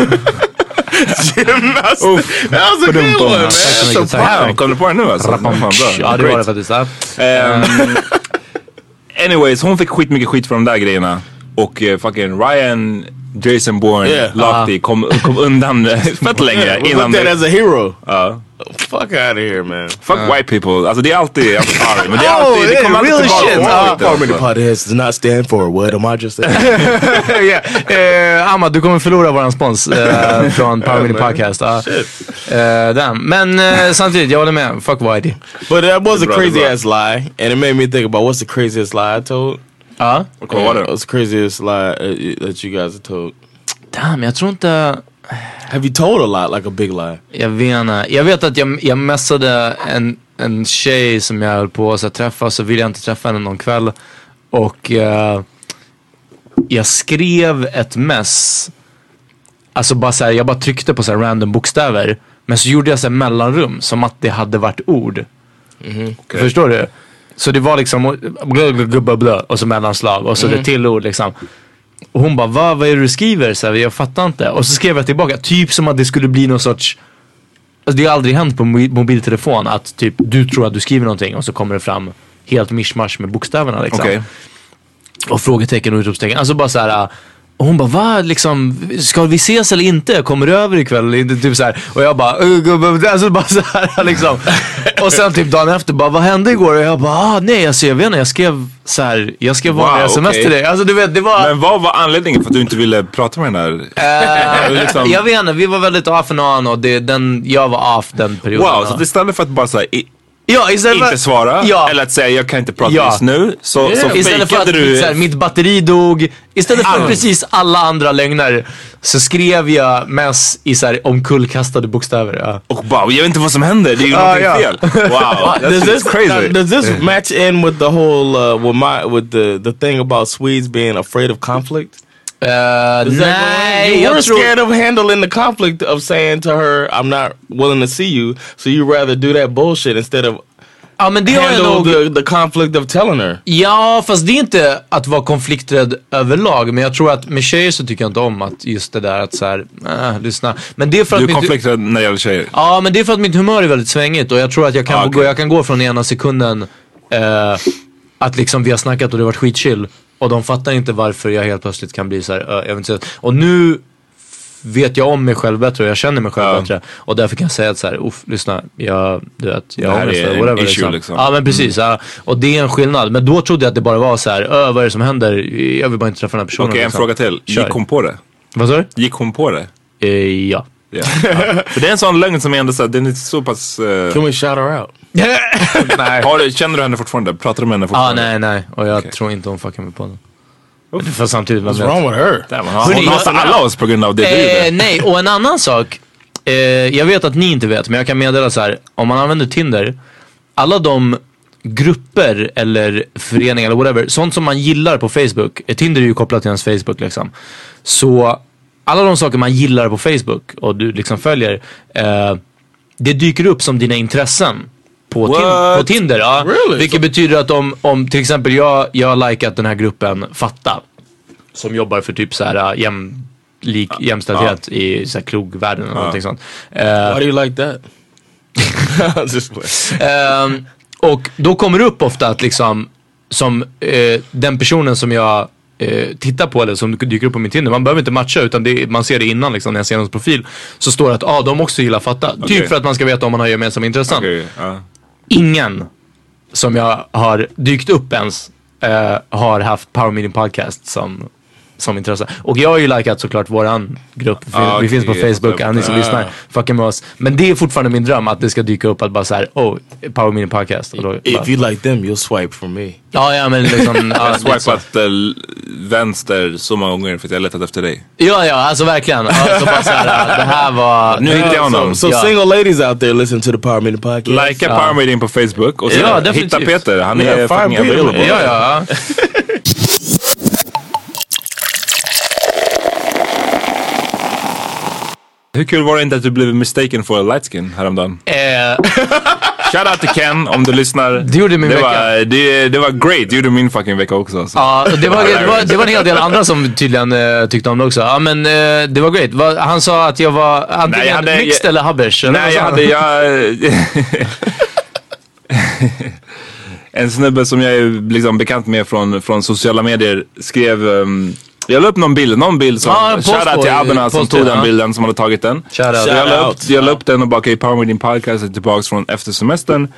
C: Gymnast.
F: Uff.
C: that was a good
F: Badum-bum.
C: one, man.
F: Tack
E: så
C: That's so
E: mycket, tack.
C: proud.
F: Wow, kom du på det nu alltså? Fan, bra.
E: ja, det var det
F: Great.
E: faktiskt. Ja.
F: Ehm, anyways, hon fick skitmycket skit för de där grejerna. Och eh, fucking Ryan, Jason Bourne,
C: Yeah.
F: Lochte kom, kom undan eh, fett länge
C: We
F: innan
C: looked at
F: det.
C: as a hero.
F: Ja.
C: Fuck out of here, man. Oh,
F: Fuck white people. Alltså det är alltid, I'm sorry, men det är alltid, det kommer alltid tillbaka. till
C: Uh,
F: skiten,
C: Farmer the
F: alltså.
C: Potheads does not stand for what am I just saying?
E: yeah. eh, Ahmad, du kommer förlora vår spons eh, från Power Mini Podcast. Uh, eh, damn. Men eh, samtidigt, jag håller med. Fuck Whitey.
C: but that was a
F: Bro,
C: crazy
F: bro.
C: ass lie, and it made me think about what's the craziest lie I told. Ah?
E: Ja.
F: Vad var
C: Yeah,
F: det?
C: What's the craziest lie uh, you- that you guys have told?
E: Damn, jag tror inte...
C: Have you told a lot, like a big lie?
E: Jag vet inte. Jag vet att jag, jag messade en, en tjej som jag höll på att träffa så ville jag inte träffa henne någon kväll. Och eh, jag skrev ett mess. Alltså bara så här, jag bara tryckte på så här random bokstäver. Men så gjorde jag så här mellanrum som att det hade varit ord. Förstår du? Så det var liksom och- blö, blö, blö, blö, blö, och så mellanslag och så det till ord liksom. Och hon bara, Va, vad är det du skriver? Så här, jag fattar inte. Och så skrev jag tillbaka, typ som att det skulle bli någon sorts Alltså det har aldrig hänt på mo- mobiltelefon att typ du tror att du skriver någonting och så kommer det fram helt mischmasch med bokstäverna liksom.
F: Okej.
E: Och frågetecken och utropstecken. Alltså bara så här. äh, Och hon bara, va? Liksom, ska vi ses eller inte? Kommer du över ikväll eller inte? Typ så här. Och jag bara, "Ugh, gubbe." alltså bara så här liksom. Och sen typ dagen efter bara, vad hände igår? Och jag bara, ah, nej alltså jag vet inte, jag skrev så här, jag skrev
F: Wow,
E: vanliga sms
F: okej.
E: till dig. Alltså du vet, det var...
F: Men vad var anledningen för att du inte ville prata med den där?
E: Eh,
F: liksom-
E: Jag vet inte, vi var väldigt off and on och det, den, jag var off den perioden.
F: Wow, så att istället för att bara såhär, i-
E: ja, istället för-
F: inte svara
E: ja.
F: eller att säga jag kan inte prata
E: Ja.
F: just nu. Så, så
E: istället för att typ
F: fejkade du...
E: så här, mitt batteri dog, istället för precis alla andra lögner så skrev jag mess i så här, omkullkastade bokstäver. Ja.
F: Och bara, jag vet inte vad som händer, det är ju
E: Ah,
F: någonting
E: ja.
F: fel. Wow, that's
C: does this
F: this,
C: now,
F: crazy.
C: does this match in with the whole uh, with my with the the thing about Swedes being afraid of conflict?
E: Eh,
C: Is that going on?
E: nej,
C: you were
E: jag tror...
C: scared of handling the conflict of saying to her, "I'm not willing to see you," so you rather do that bullshit instead of
E: Ja, men det har jag
C: handle
E: nog...
C: the, the conflict of telling her.
E: Ja, fast det är inte att vara konflikträdd överlag. Men jag tror att med tjejer så tycker jag inte om att just det där att så här, äh, lyssna. Men det är för
F: Du
E: att...
F: är
E: mitt-
F: konflikträdd när det gäller tjejer.
E: Ja, men det är för att mitt humör är väldigt svängigt och jag tror att jag kan,
F: Ah, okej.
E: gå, jag kan gå från ena sekunden eh, att liksom vi har snackat och det har varit skitchill och de fattar inte varför jag helt plötsligt kan bli så här, eh, jag vet inte, säga- och nu f- vet jag om mig själv bättre och jag känner mig själv
F: Ja.
E: bättre och därför kan jag säga att så här, uff, lyssna, jag, du vet, jag
F: Det här
E: har ångest
F: är
E: eller
F: en
E: whatever
F: issue, liksom.
E: Ja men precis, ja. och det är en skillnad. Men då trodde jag att det bara var så här, "Ö, vad är det som händer? Jag vill bara inte träffa den här personen.
F: Okej, en
E: liksom.
F: fråga till.
E: Kör.
F: Gick hon på det?
E: Vad sa du?
F: Gick hon på det?
E: Eh, ja.
F: Ja. Ja. För det är en sån lögn som är ändå såhär, den är så pass... eh,
C: Can we shout her out?
E: Nej.
F: har, du- känner du henne fortfarande? Pratar du med henne
E: Ja, ah,
F: fortfarande?
E: nej, nej. Och jag
F: Okej.
E: tror inte hon fuckar med podden. Men För samtidigt, vem
C: What's wrong
E: vet?
C: with her?
F: Damn, hon
E: Hörni,
F: hon
E: jag-
F: hatar alla oss på grund av det du
E: Eh,
F: gjorde.
E: nej, och en annan sak. Eh, jag vet att ni inte vet, men jag kan meddela så här. Om man använder Tinder, alla de grupper eller föreningar eller whatever, sånt som man gillar på Facebook. eh, Tinder är ju kopplat till ens Facebook liksom. Så alla de saker man gillar på Facebook och du liksom följer, eh, det dyker upp som dina intressen. På, tin- på
F: What?
E: Tinder, ja.
C: Really?
E: Vilket betyder att om, om till exempel jag, jag har likat den här gruppen Fatta. Som jobbar för typ så här äh, jämlik, jämställdhet i så här krogvärlden eller någonting sånt. Eh,
C: Why do you like that? Just play.
E: ehm, och då kommer det upp ofta att liksom som eh, den personen som jag eh, tittar på eller som dyker upp på min Tinder. Man behöver inte matcha utan det, är- man ser det innan liksom, när jag ser någons profil. Så står det att ah, de också gillar fatta.
F: Okej.
E: Typ för att man ska veta om man har gemensamma intressen.
F: Okej, ja.
E: Ingen som jag har dykt upp ens eh, har haft Power Meeting Podcast som som intresse. Och jag har ju likat såklart våran grupp. Vi,
F: Ah,
E: vi finns på
F: okej, jag
E: Facebook,
F: fattar.
E: ja, ni som
F: Ah.
E: lyssnar, fucka med oss. Men det är fortfarande min dröm att det ska dyka upp att bara såhär, oh, Power Meeting Podcast. Och då, bara,
C: If you like them, you'll swipe for me.
E: Ja, ja men liksom.
F: Jag
E: ja,
F: har
E: lite så.
F: swipat eh, l- vänster så många gånger för att jag har letat efter dig.
E: Ja, ja, alltså verkligen. Alltså bara såhär, äh, det här var...
F: Nu hittade jag honom.
C: So, so
E: Yeah.
C: single ladies out there, listen to the Power Meeting podcast. Uh,
F: Likea Power Meeting på Facebook och sen
E: Ja,
F: hitta
E: definitivt.
F: Peter. Han är
C: Yeah,
F: fucking
C: find Peter.
F: available.
E: Ja, ja.
F: Hur kul var det inte att du blev mistaken for a light skin häromdagen?
E: Eh,
F: Shout out till Ken om du lyssnar.
E: Det gjorde min
F: det
E: vecka.
F: Var, det, det var great. Det gjorde min fucking vecka också. Så.
E: ja, det, var, det, var, det var en hel del andra som tydligen eh, tyckte om det också. Ja, men eh, det var great. Va, han sa att jag var antingen
F: jag hade-
E: mixed eller habbers. eller vad
F: Nej,
E: sa
F: jag
E: han?
F: hade... Jag, en snubbe som jag är liksom bekant med från, från sociala medier skrev... ehm, jag la upp någon bild, någon bild som...
E: Ja, en post
F: Shoutout
E: på-
F: till Abena som
E: post på,
F: tog den
E: ja.
F: bilden, som hade tagit den.
E: Shout out.
F: Så jag la upp,
C: Shout out.
F: jag la upp den och bara, okej, Power Meeting Podcast är tillbaks från efter semestern.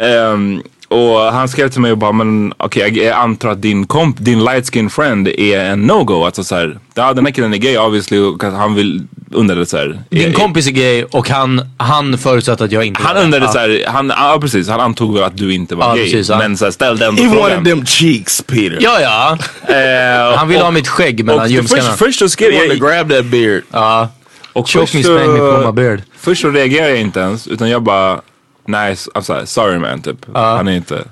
F: Ehm, och han skrev till mig och bara, men okej jag- jag antar att din komp, din light skin friend är en no-go. Alltså såhär, ja den här killen är gay obviously och att han vill, undrade såhär.
E: Din kompis är gay och han, han förutsatte att jag inte
F: Han
E: var det.
F: undrade såhär, han, ja precis, han antog väl att du inte var
E: Ja,
F: gay.
E: precis, ja.
F: Men såhär ställde ändå
C: He wanted
F: frågan.
C: them cheeks, Peter.
E: Ja, ja.
F: Eh,
E: Han ville ha mitt skägg
F: och
E: mellan
F: det- först,
E: ljumskarna.
F: först så skrev
C: He wanted to
F: jag,
C: grab that beard.
F: Uh,
C: Uh,
F: och
E: Choke me,
F: först så-
E: spank me, pull my beard.
F: Först så reagerade jag inte ens, utan jag bara, nej, s- I'm sorry, sorry man typ. Han är inte,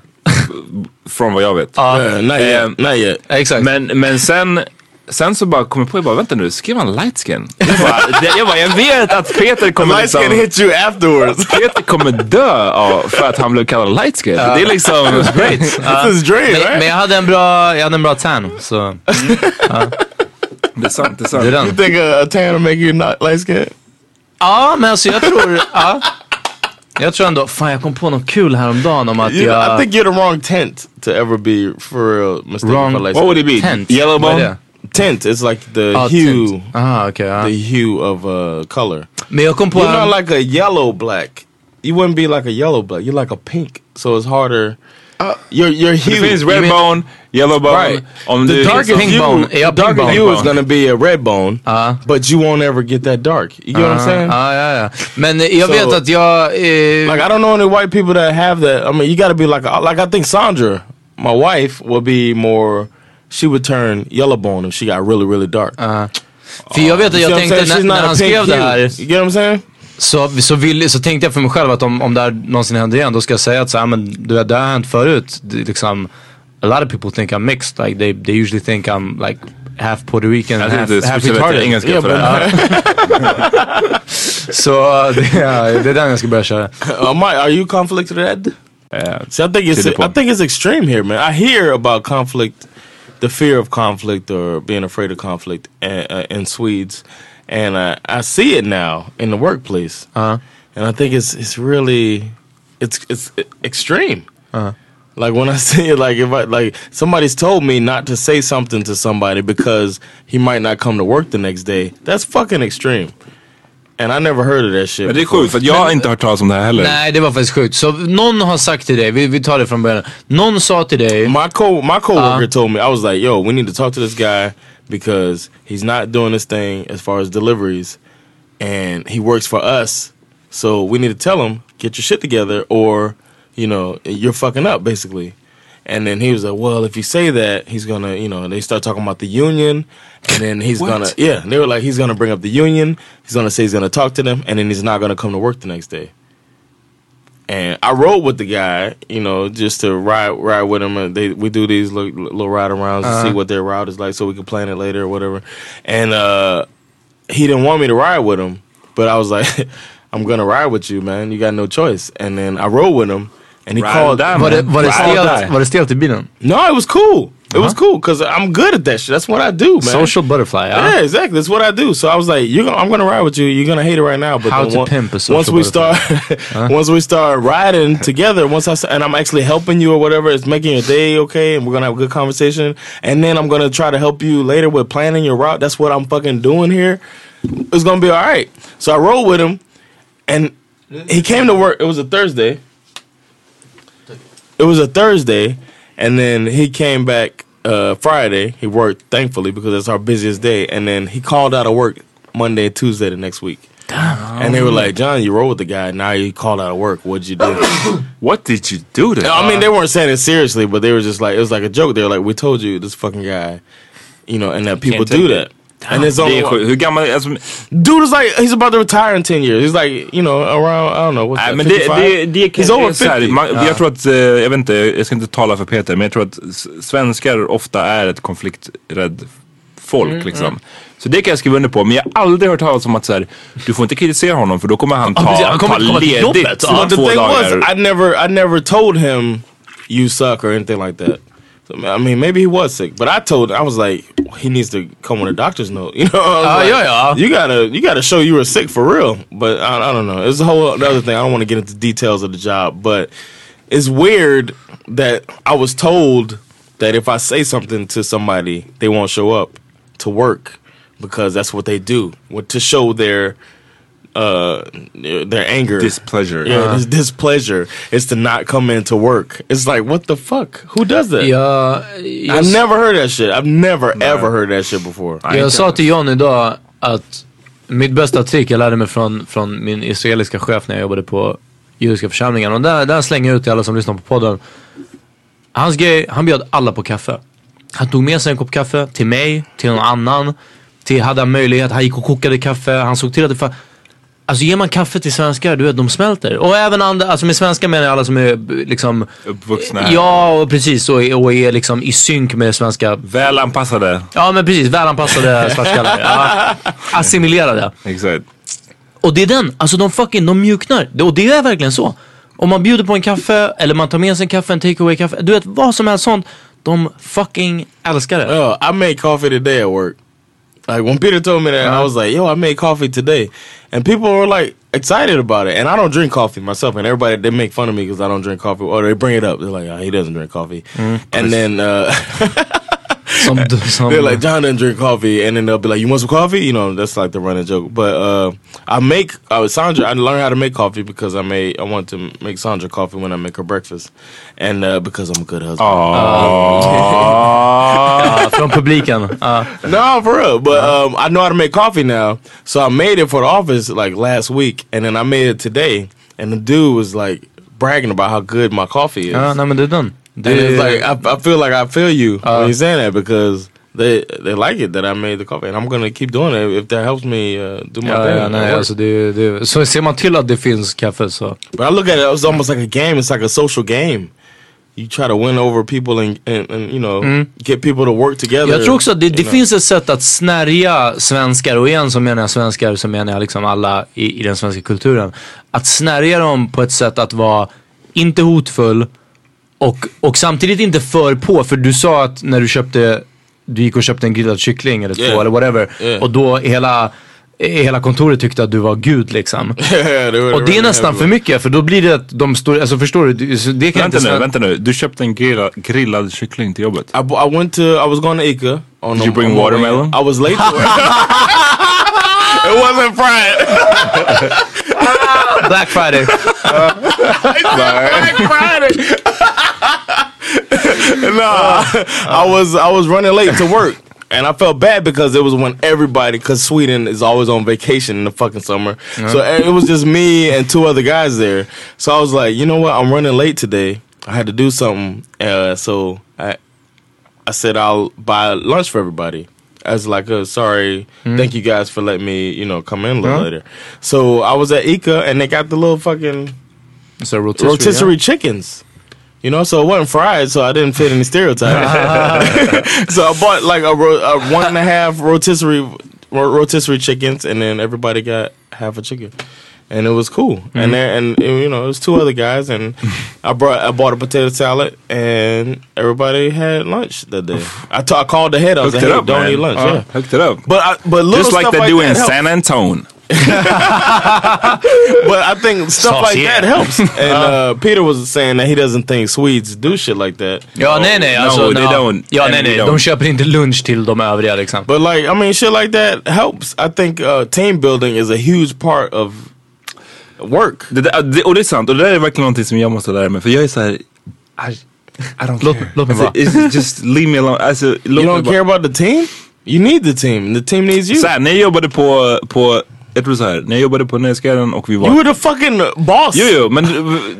F: från vad jag vet.
C: Uh, not yet.
F: Um,
C: not yet.
E: Exakt.
F: Men, men sen, sen så bara kom jag på, jag bara vänta nu, skrev han light skin? Jag bara, det- jag, bara, jag vet
E: Eh,
F: att Peter kommer
C: Lights can
F: liksom,
C: hit you afterwards.
F: Peter kommer dö av, för att han blev kallad light skin. Det är liksom,
C: this is
F: Uh,
C: dream,
E: men,
C: right?
E: men jag hade en bra, jag hade en bra tan. Så
F: det är sant, det är
E: det
F: sant.
E: är den.
C: you think uh, a, a tan will make you not light skinned?
E: Ja, men alltså jag tror... ja. Jag tror ändå... Fan, jag kom på något kul häromdagen om att
C: You know, I
E: jag...
C: think you're the wrong tent to ever be for real mistaken
E: Wrong-
C: for light
F: What
C: skin.
F: would it be?
E: Tent.
F: Yellow
E: Vad är
F: bone?
E: det?
C: Tint is like the
E: Ja,
C: hue,
E: tent. Uh-huh. Aha, Ah, okej. ja.
C: the hue of uh, color.
E: Men jag kom på...
C: You're not
E: en-
C: like a yellow black. You wouldn't be like a yellow black. You're like a pink. So it's harder. your your
F: Det
C: hue.
F: finns
C: you
F: red
C: mean-
F: bone, yellow bone.
C: Right.
F: Om
C: The
F: du,
C: darker
E: Pink
C: hue,
E: bone. Ja, pink
C: darker
E: bone.
C: hue is
F: Pink
C: gonna be a red bone, but you won't ever get that dark. You get what
E: Uh-huh.
C: I'm saying?
E: Ja, ja, ja. Men eh, jag
C: So-
E: vet att jag... Eh,
C: Like I don't know any white people that have that. I mean, you got to be like a, like I think Sandra, my wife, would be more. She would turn yellow bone if she got really really dark. Uh,
E: för jag vet att jag tänkte när, när han skrev det här
C: You get what I'm saying?
E: så, så, vill, så tänkte jag för mig själv att om, om det här någonsin händer igen då ska jag säga att så här, men, du vet, det här har hänt förut. Det, är liksom, a lot of people think I'm mixed. Like, they, they usually think I'm like half Puerto Rican and
F: Jag
E: half,
F: tänkte
E: half
F: switcha
E: retarded.
F: till engelska
C: Yeah,
F: för det här.
E: Så eh, det, är- det är den jag ska börja köra.
C: Uh, Mike, are you conflicted at?
F: Eh,
C: See, I think it's
F: the
C: I
F: point.
C: think it's extreme here, man. I hear about conflict, the fear of conflict or being afraid of conflict uh, uh, in Swedes, and uh, I see it now in the workplace. Uh-huh. And I think it's it's really it's it's extreme.
F: Uh-huh.
C: Like when I see it, like if I like somebody's told me not to say something to somebody because he might not come to work the next day. That's fucking extreme. And I never heard of that shit.
F: Men det är
C: before.
F: sjukt för att jag har inte hört talas om det här heller.
E: Nej, det var faktiskt sjukt. Så någon har sagt till dig, vi, vi tar det från början. Någon sa till dig,
C: My co my coworker told me I was like, "Yo, we need to talk to this guy because he's not doing this thing as far as deliveries, and he works for us. So we need to tell him get your shit together, or you know you're fucking up basically." And then he was like, "Well, if you say that, he's gonna, you know." and They start talking about the union, and then he's gonna, yeah. and They were like, "He's gonna bring up the union. He's gonna say he's gonna talk to them, and then he's not gonna come to work the next day." And I rode with the guy, you know, just to ride ride with him. And they we do these little, little ride arounds to see what their route is like, so we can plan it later or whatever. And uh, he didn't want me to ride with him, but I was like, "I'm gonna ride with you, man. You got no choice." And then I rode with him, and he
F: Ride or
C: called.
F: die,
E: var det,
F: man.
E: var det
C: Ride or
E: stelt,
C: die.
E: var det stelt i bilen?
C: No, it was cool. It was cool because I'm good at that shit. That's what I do, man.
E: Social butterfly. huh?
C: Yeah, exactly. That's what I do. So I was like, "You're gonna, I'm gonna ride with you. You're gonna hate it right now, but
E: How
C: then
E: to
C: on-
E: pimp a social
C: once we
E: butterfly.
C: start, once we start riding together, once I s- and I'm actually helping you or whatever, it's making your day okay, and we're gonna have a good conversation, and then I'm gonna try to help you later with planning your route. That's what I'm fucking doing here. It's gonna be all right. So I rode with him, and he came to work. It was a Thursday. It was a Thursday, and then he came back uh, Friday. He worked, thankfully, because it's our busiest day. And then he called out of work Monday, Tuesday the next week. And they were like, John, you rolled with the guy. Now you called out of work. What'd you do?
F: What did you do to
C: I mean, they weren't saying it seriously, but they were just like, it was like a joke. They were like, we told you this fucking guy, you know, and that people
F: can't take
C: do that. And it's
F: Det
C: only
F: är sjukt. Hur gammal... Alltså,
C: dude is like he's about to retire in ten years. He's like you know around I don't know what's
F: Nej
C: that,
F: men det,
C: 55?
F: det, det kan
C: He's
F: det
C: over
F: är så här,
C: 50.
F: man, Jag tror att, eh, jag vet inte, jag ska inte tala för Peter, men jag tror att s- svenskar ofta är ett konflikträdd folk liksom. Så det kan jag skriva under på, men jag har aldrig hört talas om att så här, du får inte kritisera honom för då kommer han ta,
E: precis, han kommer
F: ta
E: inte komma till jobbet.
F: ledigt
C: But the
F: två
C: thing
F: dagar.
C: was, I never, I never told him you suck or anything like that. So, I mean, maybe he was sick, but I told, I was like, he needs to come with a doctor's note. You know, I was
E: Oh,
C: like,
E: yeah, yeah.
C: you gotta, you gotta show you were sick for real. But I, I don't know. It's a whole other thing. I don't want to get into details of the job, but it's weird that I was told that if I say something to somebody, they won't show up to work because that's what they do what- to show their uh their anger
F: Displeasure.
C: yeah this displeasure is to not come into work it's like what the fuck who does that
E: Jag,
C: i've
E: jag,
C: never heard that shit i've never ever heard that shit before
E: jag sa till John idag att mitt bästa trick jag lärde mig från, från min israeliska chef när jag jobbade på judiska församlingen. Och där, där slänger jag ut till alla som lyssnar på podden. Hans grej, han bjöd alla på kaffe. Han tog med sig en kopp kaffe till mig, till någon annan. Till, hade han möjlighet, han gick och kokade kaffe. Han såg till att det fanns... Alltså ger man kaffe till svenskar, du vet de smälter. Och även andra, alltså med svenskar menar jag alla som är b- liksom...
F: Uppvuxna här.
E: Ja, och precis. Och, är- och är liksom i synk med det svenska.
F: Väl anpassade.
E: Ja men precis, välanpassade svartskallar. Ja, assimilerade.
F: Exakt.
E: Och det är den, alltså de fucking, de mjuknar. Det- Och det är verkligen så. Om man bjuder på en kaffe, eller man tar med sig en kaffe, en takeaway kaffe. Du vet, vad som helst sånt. De fucking älskar det.
C: Yo, I made coffee today at work. Like when Peter told me that, I was like, "Yo, I made coffee today," and people were like excited about it. And I don't drink coffee myself, and everybody they make fun of me because I don't drink coffee, or they bring it up. They're like, oh, "He doesn't drink coffee," and then uh,
E: Som, som,
C: they're like, "John doesn't drink coffee," and then they'll be like, "You want some coffee?" You know, that's like the running joke. But uh, I make uh, Sandra. I learned how to make coffee because I made I want to make Sandra coffee when I make her breakfast, and uh, because I'm a good husband.
E: ja, från publiken. Ja.
C: No, for real. But um, I know how to make coffee now, so I made it for the office like last week, and then I made it today. And the dude was like bragging about how good my coffee is.
E: ja, nej men det är den. Det
C: and it's
E: är,
C: like I, I feel like I feel you
F: Uh-huh.
C: when you're saying that because they they like it that I made the coffee, and I'm gonna keep doing it if that helps me uh, do my
F: Oh,
E: ja,
C: thing.
E: ja, nej,
C: at work.
E: alltså det, är- det, är- så ser man till att det finns kaffe så.
C: But I look at it, it's almost like a game. It's like a social game. You try to win over people and, and, and you know
F: Hmm?
C: get people to work together.
E: Jag tror också att det, det
C: you know.
E: finns ett sätt att snärja svenskar, och igen så menar jag svenskar så menar jag liksom alla i, i den svenska kulturen. Att snärja dem på ett sätt att vara inte hotfull och, och samtidigt inte för på. För du sa att när du köpte, du gick och köpte en grillad kyckling eller två
C: Yeah.
E: eller whatever.
C: Yeah.
E: Och då hela, hela kontoret tyckte att du var gud liksom.
C: Yeah, they were-
E: och
C: they
E: det
C: were
E: är nästan
C: happy.
E: för mycket för då blir det att de står, alltså förstår du? Det så det kan
F: Vänta
E: inte
F: nu,
E: sven-
F: vänta nu. Du köpte en grilla, grillad kyckling till jobbet.
C: I, bu- I went to I was going to Ica. On
F: Did you bring
C: on my way in.
F: watermelon?
C: I was late. To it wasn't fried.
E: Black Friday.
C: Black Friday. nah, I was I was running late to work, and I felt bad because it was when everybody, because Sweden is always on vacation in the fucking summer, so e- it was just me and two other guys there. So I was like, you know what, I'm running late today. I had to do something, uh, so I I said I'll buy lunch for everybody. As like a sorry, thank you guys for letting me, you know, come in a little later. So I was at Ica and they got the little fucking
E: Så rotisserie.
C: rotisserie chickens. You know, so it wasn't fried, so I didn't fit any stereotype. so I bought like a, ro a one and a half rotisserie ro rotisserie chickens, and then everybody got half a chicken. and it was cool.
F: Mm-hmm.
C: And there, and you know, it was two other guys, and I brought I bought a potato salad, and everybody had lunch that day. I ta- I called the head. I was
F: Hooked
C: like,
F: it
C: hey,
F: up,
C: don't
F: man.
C: eat lunch.
F: Uh,
C: yeah.
F: Hooked it up.
C: But I, but little
F: Just like
C: stuff
F: they do in
C: that helps.
F: San Antone.
C: but I think stuff like that helps. And uh, Peter was saying that he doesn't think Swedes do shit like that.
E: Ja, nej, nej.
F: No,
E: Alltså,
F: they
E: na-
F: don't.
E: Ja,
F: And
E: nej,
F: they
E: nej.
F: don't.
E: De köper inte lunch till de övriga liksom.
C: But like, I mean, shit like that helps. I think uh, team building is a huge part of work.
F: Det där, det, och det är sant, och det där är verkligen någonting som jag måste lära mig. För jag är såhär, I, I don't
E: Låt-
F: care.
E: låt mig
F: alltså,
E: vara.
F: it's just leave me alone. Alltså, låt
C: You
F: mig
C: don't
F: bara-
C: care about the team. You need the team. The team needs you.
F: Såhär, när jag jobbade på, på jag tror såhär, när jag jobbade på Nöjesguiden och vi var...
C: You were the fucking boss.
F: jo, jo, men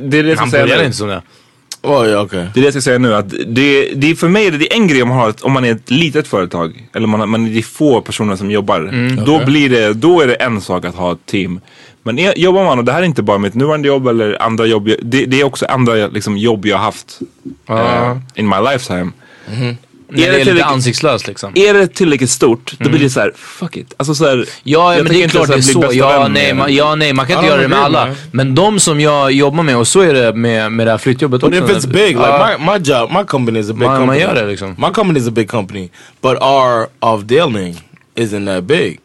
F: det är det jag ska
E: Han
F: säga
E: började
F: nu.
E: inte som det.
C: Oh, yeah, okay.
F: Det är det jag ska säga nu, att det, det är för mig det är en grej om man, har, ett- om man är ett litet företag, eller man, man det är få personer som jobbar.
E: Mm.
F: Då, blir det, då är det en sak att ha ett team. Men är, jobbar man, och det här är inte bara mitt nuvarande jobb eller andra jobb, jag- det, det är också andra liksom, jobb jag har haft eh, in my lifetime.
E: Mm. Det
F: Är, det
E: är lite
F: tillräckligt,
E: ansiktslöst liksom.
F: är det tillräckligt stort, då blir det så här, fuck it. Alltså så här,
E: Ja,
F: jag
E: men det
F: tänker
E: är
F: inte
E: klart det är
F: ens
E: så.
F: bli bästa
E: Ja
F: vän
E: nej,
F: med-
E: man, ja, nej, man kan inte
C: Ja,
E: göra det med
C: det är
E: alla.
C: det.
E: Men de som jag jobbar med, och så är det med, med det här flyttjobbet
C: But
E: också.
C: if it's big, like
E: Ja.
C: Uh, my, my job, my company is a big
E: Man- man
C: company.
E: gör det liksom.
C: My company is a big company, but our avdelning isn't that big.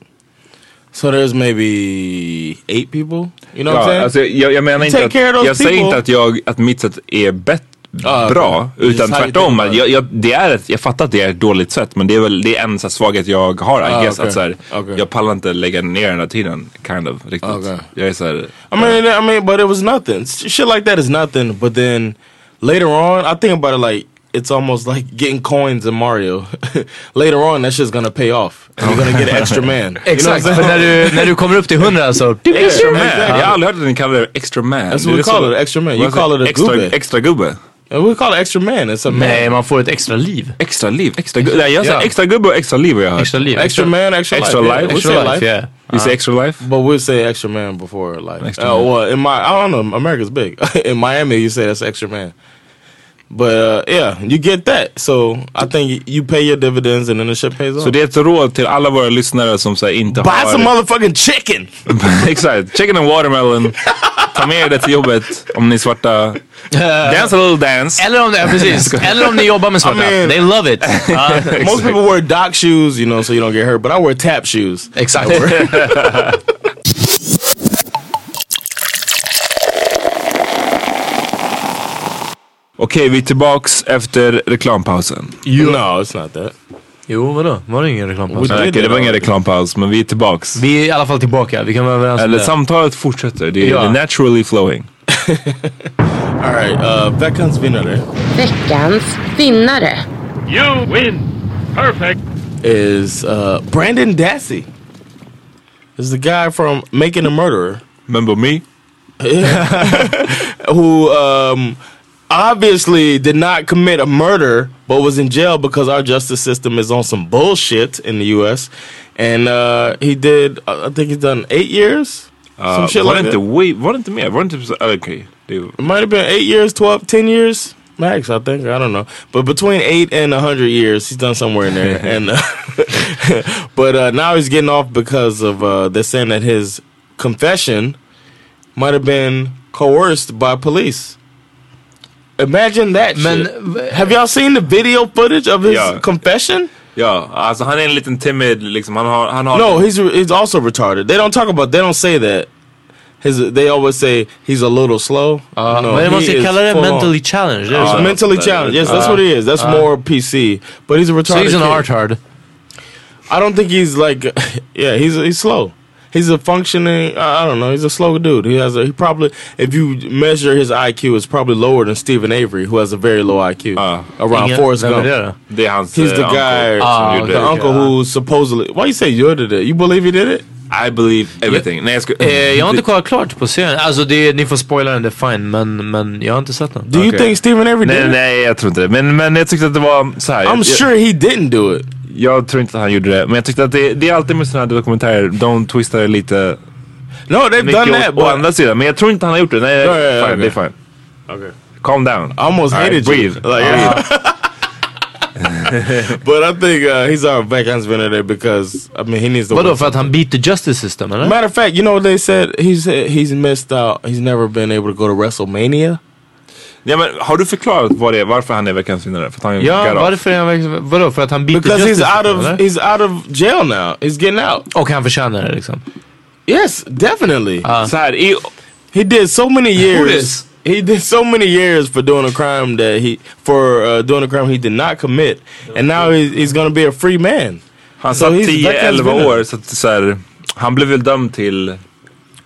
C: So there's maybe eight people. You know what I'm
F: Ja,
C: saying?
F: alltså, jag, jag menar
C: Take
F: inte att,
C: care of those
F: jag säger
C: people.
F: inte att, jag, att mitt sätt är bett,
C: Ah,
F: bra.
C: okay.
F: Utan
C: Just how
F: tvärtom.
C: you think about
F: Att
C: it.
F: jag, jag, det är ett, jag fattar att det är ett dåligt sätt men det är väl det är en så här, svaghet jag har. I
C: Ah,
F: guess,
C: okay.
F: att, så här,
C: Okay.
F: Jag pallar inte lägga ner den här tiden. Kind of. Riktigt.
C: Okay.
F: Jag är så här,
C: I mean, I mean, but it was nothing. S- Shit like that is nothing. But then later on, I think about it like it's almost like getting coins in Mario. later on, that shit's gonna pay off. And you're gonna get an extra man. You know what I'm
E: Exakt,
C: saying?
E: för när du, när du kommer upp till 100 så...
F: extra man. Jag har aldrig hört att ni kallar det extra man.
C: That's what we call it, extra man. You call it a
F: extra,
C: gubbe.
F: Extra gubbe.
C: And we call it extra man. It's a man.
E: Nej, man får ett extra liv.
F: Extra liv. Extra, gu- nej, jag säger
C: Ja.
F: extra gubbe och extra liv har jag hört.
E: Extra liv.
C: Extra man, extra,
F: Extra
C: life.
F: life.
C: Yeah, we
E: Extra
C: say
E: life, yeah.
F: Vi säger extra life.
C: But we'll say extra man before like
F: Extra
C: uh,
F: man.
C: well in my I don't know America's big in Miami you say that's extra man but uh, yeah you get that so I think you pay your dividends and then the shit pays off
F: Så det är ett råd till alla våra lyssnare som så här, inte
C: buy
F: har...
C: some motherfucking chicken
F: Exakt, chicken and watermelon. Ta med er det till jobbet om ni är svarta. Dance a little dance.
E: Eller om, det- ja, precis. Eller om ni jobbar med svarta.
C: I mean-
E: They love it. Ja,
C: most people wear dock shoes you know so you don't get hurt but I wear tap shoes
E: exakt.
F: Okej, vi är tillbaks efter reklampausen.
C: no it's not that
E: Jo, vadå? Var det ingen reklampaus?
F: Nej, okej, det var ingen reklampaus, men vi är tillbaks.
E: Vi är i alla fall tillbaka. Vi kan vara överens om
F: Eller
E: det.
F: samtalet fortsätter. Det är
E: Ja.
F: det är naturally flowing.
C: alright uh, veckans vinnare
I: Veckans vinnare.
C: is uh, Brandon Dassey is the guy from Making a Murderer
F: Remember me?
C: who um, obviously did not commit a murder but was in jail because our justice system is on some bullshit in the U.S. And uh, he did, I I think he's done eight years. some
F: Uh,
C: shit
F: var,
C: like
F: det inte,
C: that.
F: wait, var det inte mer? Var det inte... ah, Okej. Det är-
C: It might have been eight years, 12, 10 years max, I think. I don't know. But between eight and 100 years, he's done somewhere in there. and uh, But uh, now he's getting off because of, uh, they're saying that his confession might have been coerced by police. Imagine that
E: Men-
C: shit. Have y'all seen the video footage of his
F: Yeah.
C: confession?
F: Ja, alltså han är en liten timid liksom. Han har... Han har
C: No, he's he's also retarded. They don't talk about. They don't say that. His they always say he's a little slow. Uh, no,
E: Men
C: he
E: man ska
C: is
E: kalla det
C: full on.
E: mentally challenged. är det
C: He's
E: så?
C: mentally challenged. Yes, that's what he Uh, is. uh, That's more PC. But he's a retarded.
E: So he's an
C: kid.
E: artard.
C: I don't think he's like. Yeah, he's he's slow. He's a functioning. I I don't know. He's a slow dude. He has a. He probably, if you measure his IQ, it's probably lower than Stephen Avery, who has a very low IQ. Uh, around
E: Ingen-
C: Forrest
E: vem är
C: Gump.
E: det då?
F: Det är hans
C: He's
F: eh,
C: the
F: uncle
C: guy,
F: som
E: Ah,
F: gjorde
C: the
F: det.
C: uncle who supposedly. Why you say you did it? You believe he did it?
F: I believe everything. Nej, jag ska...
E: Eh, jag har inte kollat klart på serien. Alltså det, ni får spoila den, det är fine. Men, men jag har inte sett den.
C: Do you
F: Okay.
C: think Stephen Avery
F: Nej, nej,
C: did it?
F: nej, jag tror inte det. Men, men jag tyckte att det var så här.
C: I'm
F: jag,
C: sure he didn't do it.
F: jag tror inte att han gjorde det. Men jag tyckte att det, det är alltid med sådana här dokumentärer. De twistar det lite.
C: No, they've
F: Mycket
C: done
F: åt-
C: that,
F: å
C: but
F: andra sidan. Men jag tror inte han har gjort det. Nej, nej,
C: Ja, ja, ja,
F: fine,
C: okej.
F: det är fine. Calm down.
C: I almost
F: All
C: hated you.
F: breathe.
C: Like,
F: Ah.
C: but I think uh, he's our backhand's been in there because I mean he needs to.
E: Vadå,
C: work
E: för att han beat the justice system eller?
C: Matter of fact, you know what they said? He said he's missed out. He's never been able to go to WrestleMania.
F: Ja, men har du förklarat vad det är, varför han är veckans vinnare? För att han
E: ja,
F: got off.
E: varför är han verkligen... Vadå, för att han beat
C: Because
E: the
C: he's
E: justice
C: out
E: system
C: of
E: eller?
C: he's out of jail now. He's getting out.
E: Och han förtjänar det liksom.
C: Yes, definitely.
F: Så här, i,
C: He did so many years.
F: is?
C: He did so many years for doing a crime that he for uh, doing a crime he did not commit, and now he's, he's gonna be a free man.
F: han
C: So
F: satt
C: he's veckans
F: 10-11
C: vinnare.
F: år, så, att, så här, han blev väl dömd till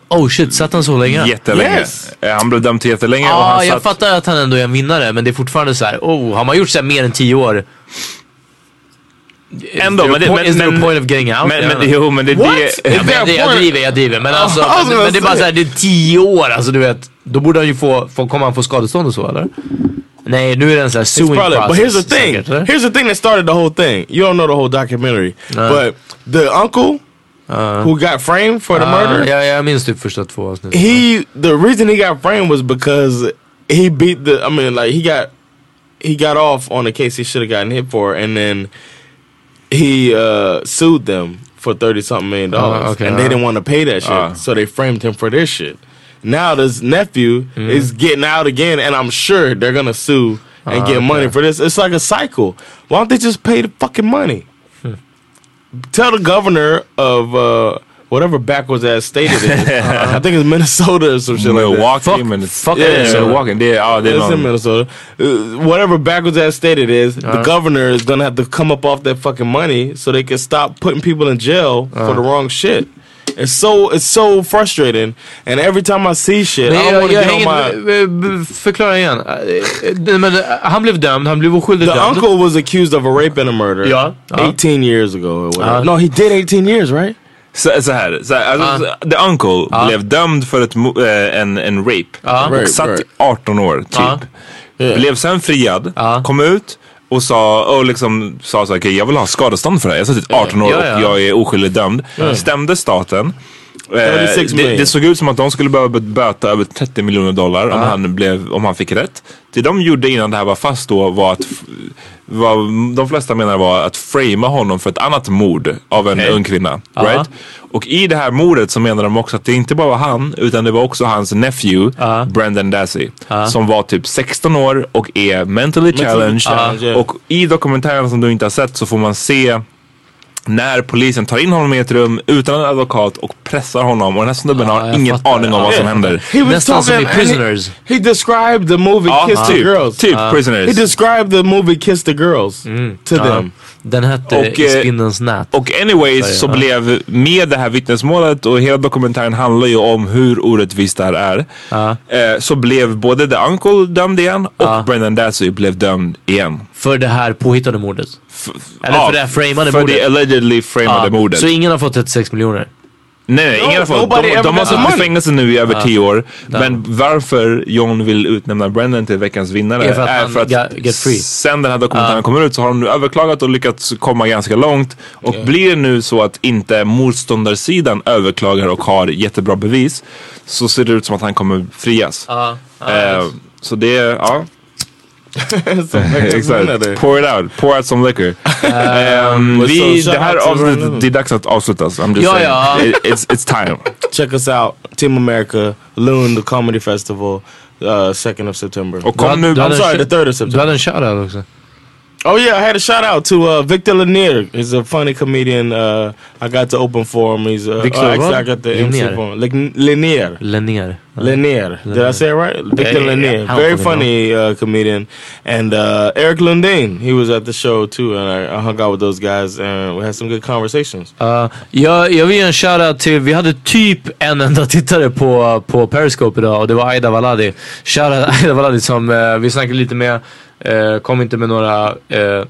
E: Oh shit, satt han så länge?
F: jättelänge.
C: Yes.
F: Eh, Han blev dömd till jättelänge och
E: Ja,
F: han
E: jag
F: satt...
E: fattar att han ändå är en vinnare, men det är fortfarande så här. oh, har man gjort så här mer än tio år?
F: Ändå,
E: is
F: men det...
E: there a point- is
F: Men,
E: there a
F: men,
E: point of getting out?
F: men,
E: Jag
F: men,
E: vet inte.
F: jo, men det är
C: What?
F: det...
C: Is
E: Ja,
C: there a
E: men det, jag
C: point-
E: driver, jag driver. Men, alltså,
C: I was
E: men,
C: gonna
E: men det är bara
C: say.
E: såhär, det är tio år. Alltså du vet, då borde han ju få, få kommer han få skadestånd och så eller? Nej, nu är det en sån här
C: It's
E: suing process.
C: probably- but here's the thing.
E: säkert, eller?
C: here's the thing that started the whole thing. You don't know the whole documentary,
E: No.
C: but the uncle
E: Uh.
C: who got framed for the murder,
E: Ah, ja, jag minns typ första två avsnitt.
C: he the reason he got framed was because he beat the. I mean, like he got he got off on a case he should have gotten hit for, and then he uh, sued them for thirty something million dollars,
E: okay,
C: and
E: uh.
C: they didn't want to pay that shit, so they framed him for this shit. Now this nephew is getting out again, and I'm sure they're gonna sue and get money for this. It's like a cycle. Why don't they just pay the fucking money? Tell the governor of uh, whatever backwards ass state it is. Uh, I think it's Minnesota or some shit like that.
F: Milwaukee, men...
E: fuck
F: yeah,
C: it.
F: Milwaukee. Det är, ja, det är
C: It's in
F: någon...
C: Minnesota. Uh, whatever backwards ass state it is, the governor is gonna have to come up off that fucking money so they can stop putting people in jail for the wrong shit. It's so it's so frustrating. And every time I see shit,
E: Men
C: I don't
E: jag,
C: want to
E: jag
C: get on
E: hänger,
C: my.
E: eh, Förklara igen. Eh, eh, Men, eh, han blev dömd, han blev oskyldigt
C: The
E: dömd.
C: uncle was accused of a rape and a murder.
E: Yeah. Uh-huh.
C: 18 years ago or whatever.
E: Uh.
C: no, he did 18 years, right?
F: Så, så här, så här alltså, The Uncle blev dömd för ett, mo- eh, en, en rape. Och
C: Right,
F: satt
C: right.
F: i 18 år typ.
E: Ja.
F: Blev sen friad, kom ut och sa, och liksom, sa så här, "Okej, jag vill ha skadestånd för det här. Jag har suttit 18 år
E: Ja, ja.
F: och jag är oskyldigt dömd. Stämde staten. Eh,
C: 36
F: det,
C: million.
F: det såg ut som att de skulle behöva böta över 30 miljoner dollar om, han blev, om han fick rätt. Det de gjorde innan det här var fast då var att f- vad de flesta menar var att framea honom för ett annat mord av en ung kvinna. Right? Och i det här mordet så menar de också att det inte bara var han utan det var också hans nephew Brandon Dassey som var typ 16 år och är mentally challenged. Ah.
C: challenged, ja.
F: Och i dokumentären som du inte har sett så får man se när polisen tar in honom i ett rum utan en advokat och pressar honom och den här snubben har
E: jag
F: ingen
E: fattar.
F: aning om vad som
C: Ja.
F: händer.
C: He was
E: Nästan som i
C: talking and he-
E: Prisoners.
C: He, described the movie
F: Ja,
C: Kiss the
F: typ,
C: Girls. Uh-huh.
F: typ prisoners.
C: He described the movie Kiss the Girls to them.
E: Den hette
F: Och,
E: I
F: eh,
E: Spindelns nät.
F: Och anyways så
E: Ja.
F: blev med det här vittnesmålet och hela dokumentären handlar ju om hur orättvist det här är. Eh, så blev både The Uncle dömd igen och Brendan Dassey blev dömd igen.
E: för det här påhittade mordet. Eller
F: Ja,
E: för det här framade
F: För
E: mordet.
F: det allegedly framade
E: Ja,
F: mordet.
E: Så ingen har fått 36 miljoner.
F: Nej, nej, ingen har fått.
C: nobody
F: De,
C: ever
F: de har
C: got the
F: suttit i
C: money.
F: fängelse nu i över tio år. Men varför John vill utnämna Brendan till veckans vinnare
E: Är för att han ga- get free.
F: sen den här dokumentären kommer ut så har de nu överklagat och lyckats komma ganska långt. Och blir det nu så att inte motståndarsidan överklagar och har jättebra bevis så ser det ut som att han kommer frias. Eh, så det, är- ja.
C: So make us win that day.
F: Exakt. Pour it out. Pour out some liquor. Ehm,
C: with some
F: vi,
C: shout
F: det här
C: out to
F: avsnittet,
C: Brendan.
F: det är dags att avslutas. I'm just
E: Ja,
F: saying.
E: ja.
F: It, it's, it's time.
C: Check us out, Team America, Loon, the Comedy Festival, uh, 2nd of September.
F: Och kom
E: Du
F: nu...
E: hade- du
C: I'm
E: hade
C: sorry,
E: en
C: the
E: shou-
C: 3rd of
E: Du
C: September.
E: hade en shoutout också.
C: Oh yeah, I had a shout out to uh, Victor Lanier. He's a funny comedian. Uh, I got to open for him. He's uh,
E: Victor
C: oh, actually,
E: what?
C: I got the MC
E: Lanier.
C: for him. Lin- Lanier.
E: Lennér.
C: Uh, Lanier. Did I say it right? Victor
E: yeah,
C: Lanier.
E: yeah. I don't
C: Very
E: fucking
C: funny uh, comedian. And uh, Eric Lundin. He was at the show too, and I, I hung out with those guys, and we had some good conversations.
E: Ja, Eh, jag, jag vill ge en shoutout till, vi hade typ en enda tittare på, på Periscope idag och det var Aida Valadi. Shoutout Aida Valadi som eh, vi snackade lite med, eh, kom inte med några eh,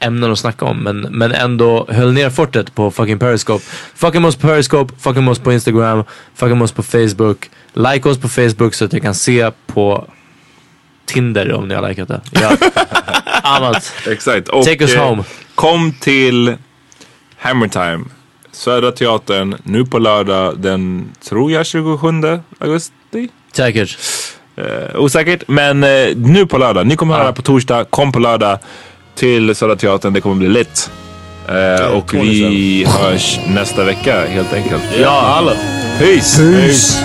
E: ämnen att snacka om men, men ändå höll ner fortet på fucking Periscope. Fucking oss på Periscope, fucking oss på Instagram, fucking oss på Facebook. Like oss på Facebook så att jag kan se på Tinder om ni har likat det. Ja. Annat.
F: Exakt. Och,
E: Take us
F: eh,
E: home.
F: Kom till Hammer Time. Södra Teatern nu på lördag den, tror jag, 27 augusti.
E: Säkert.
F: Eh, osäkert, men eh, nu på lördag. Ni kommer höra på torsdag, kom på lördag. till Södra Teatern. Det kommer bli lit. Eh, och vi hörs nästa vecka helt enkelt.
C: Ja, alla.
F: Peace! Peace.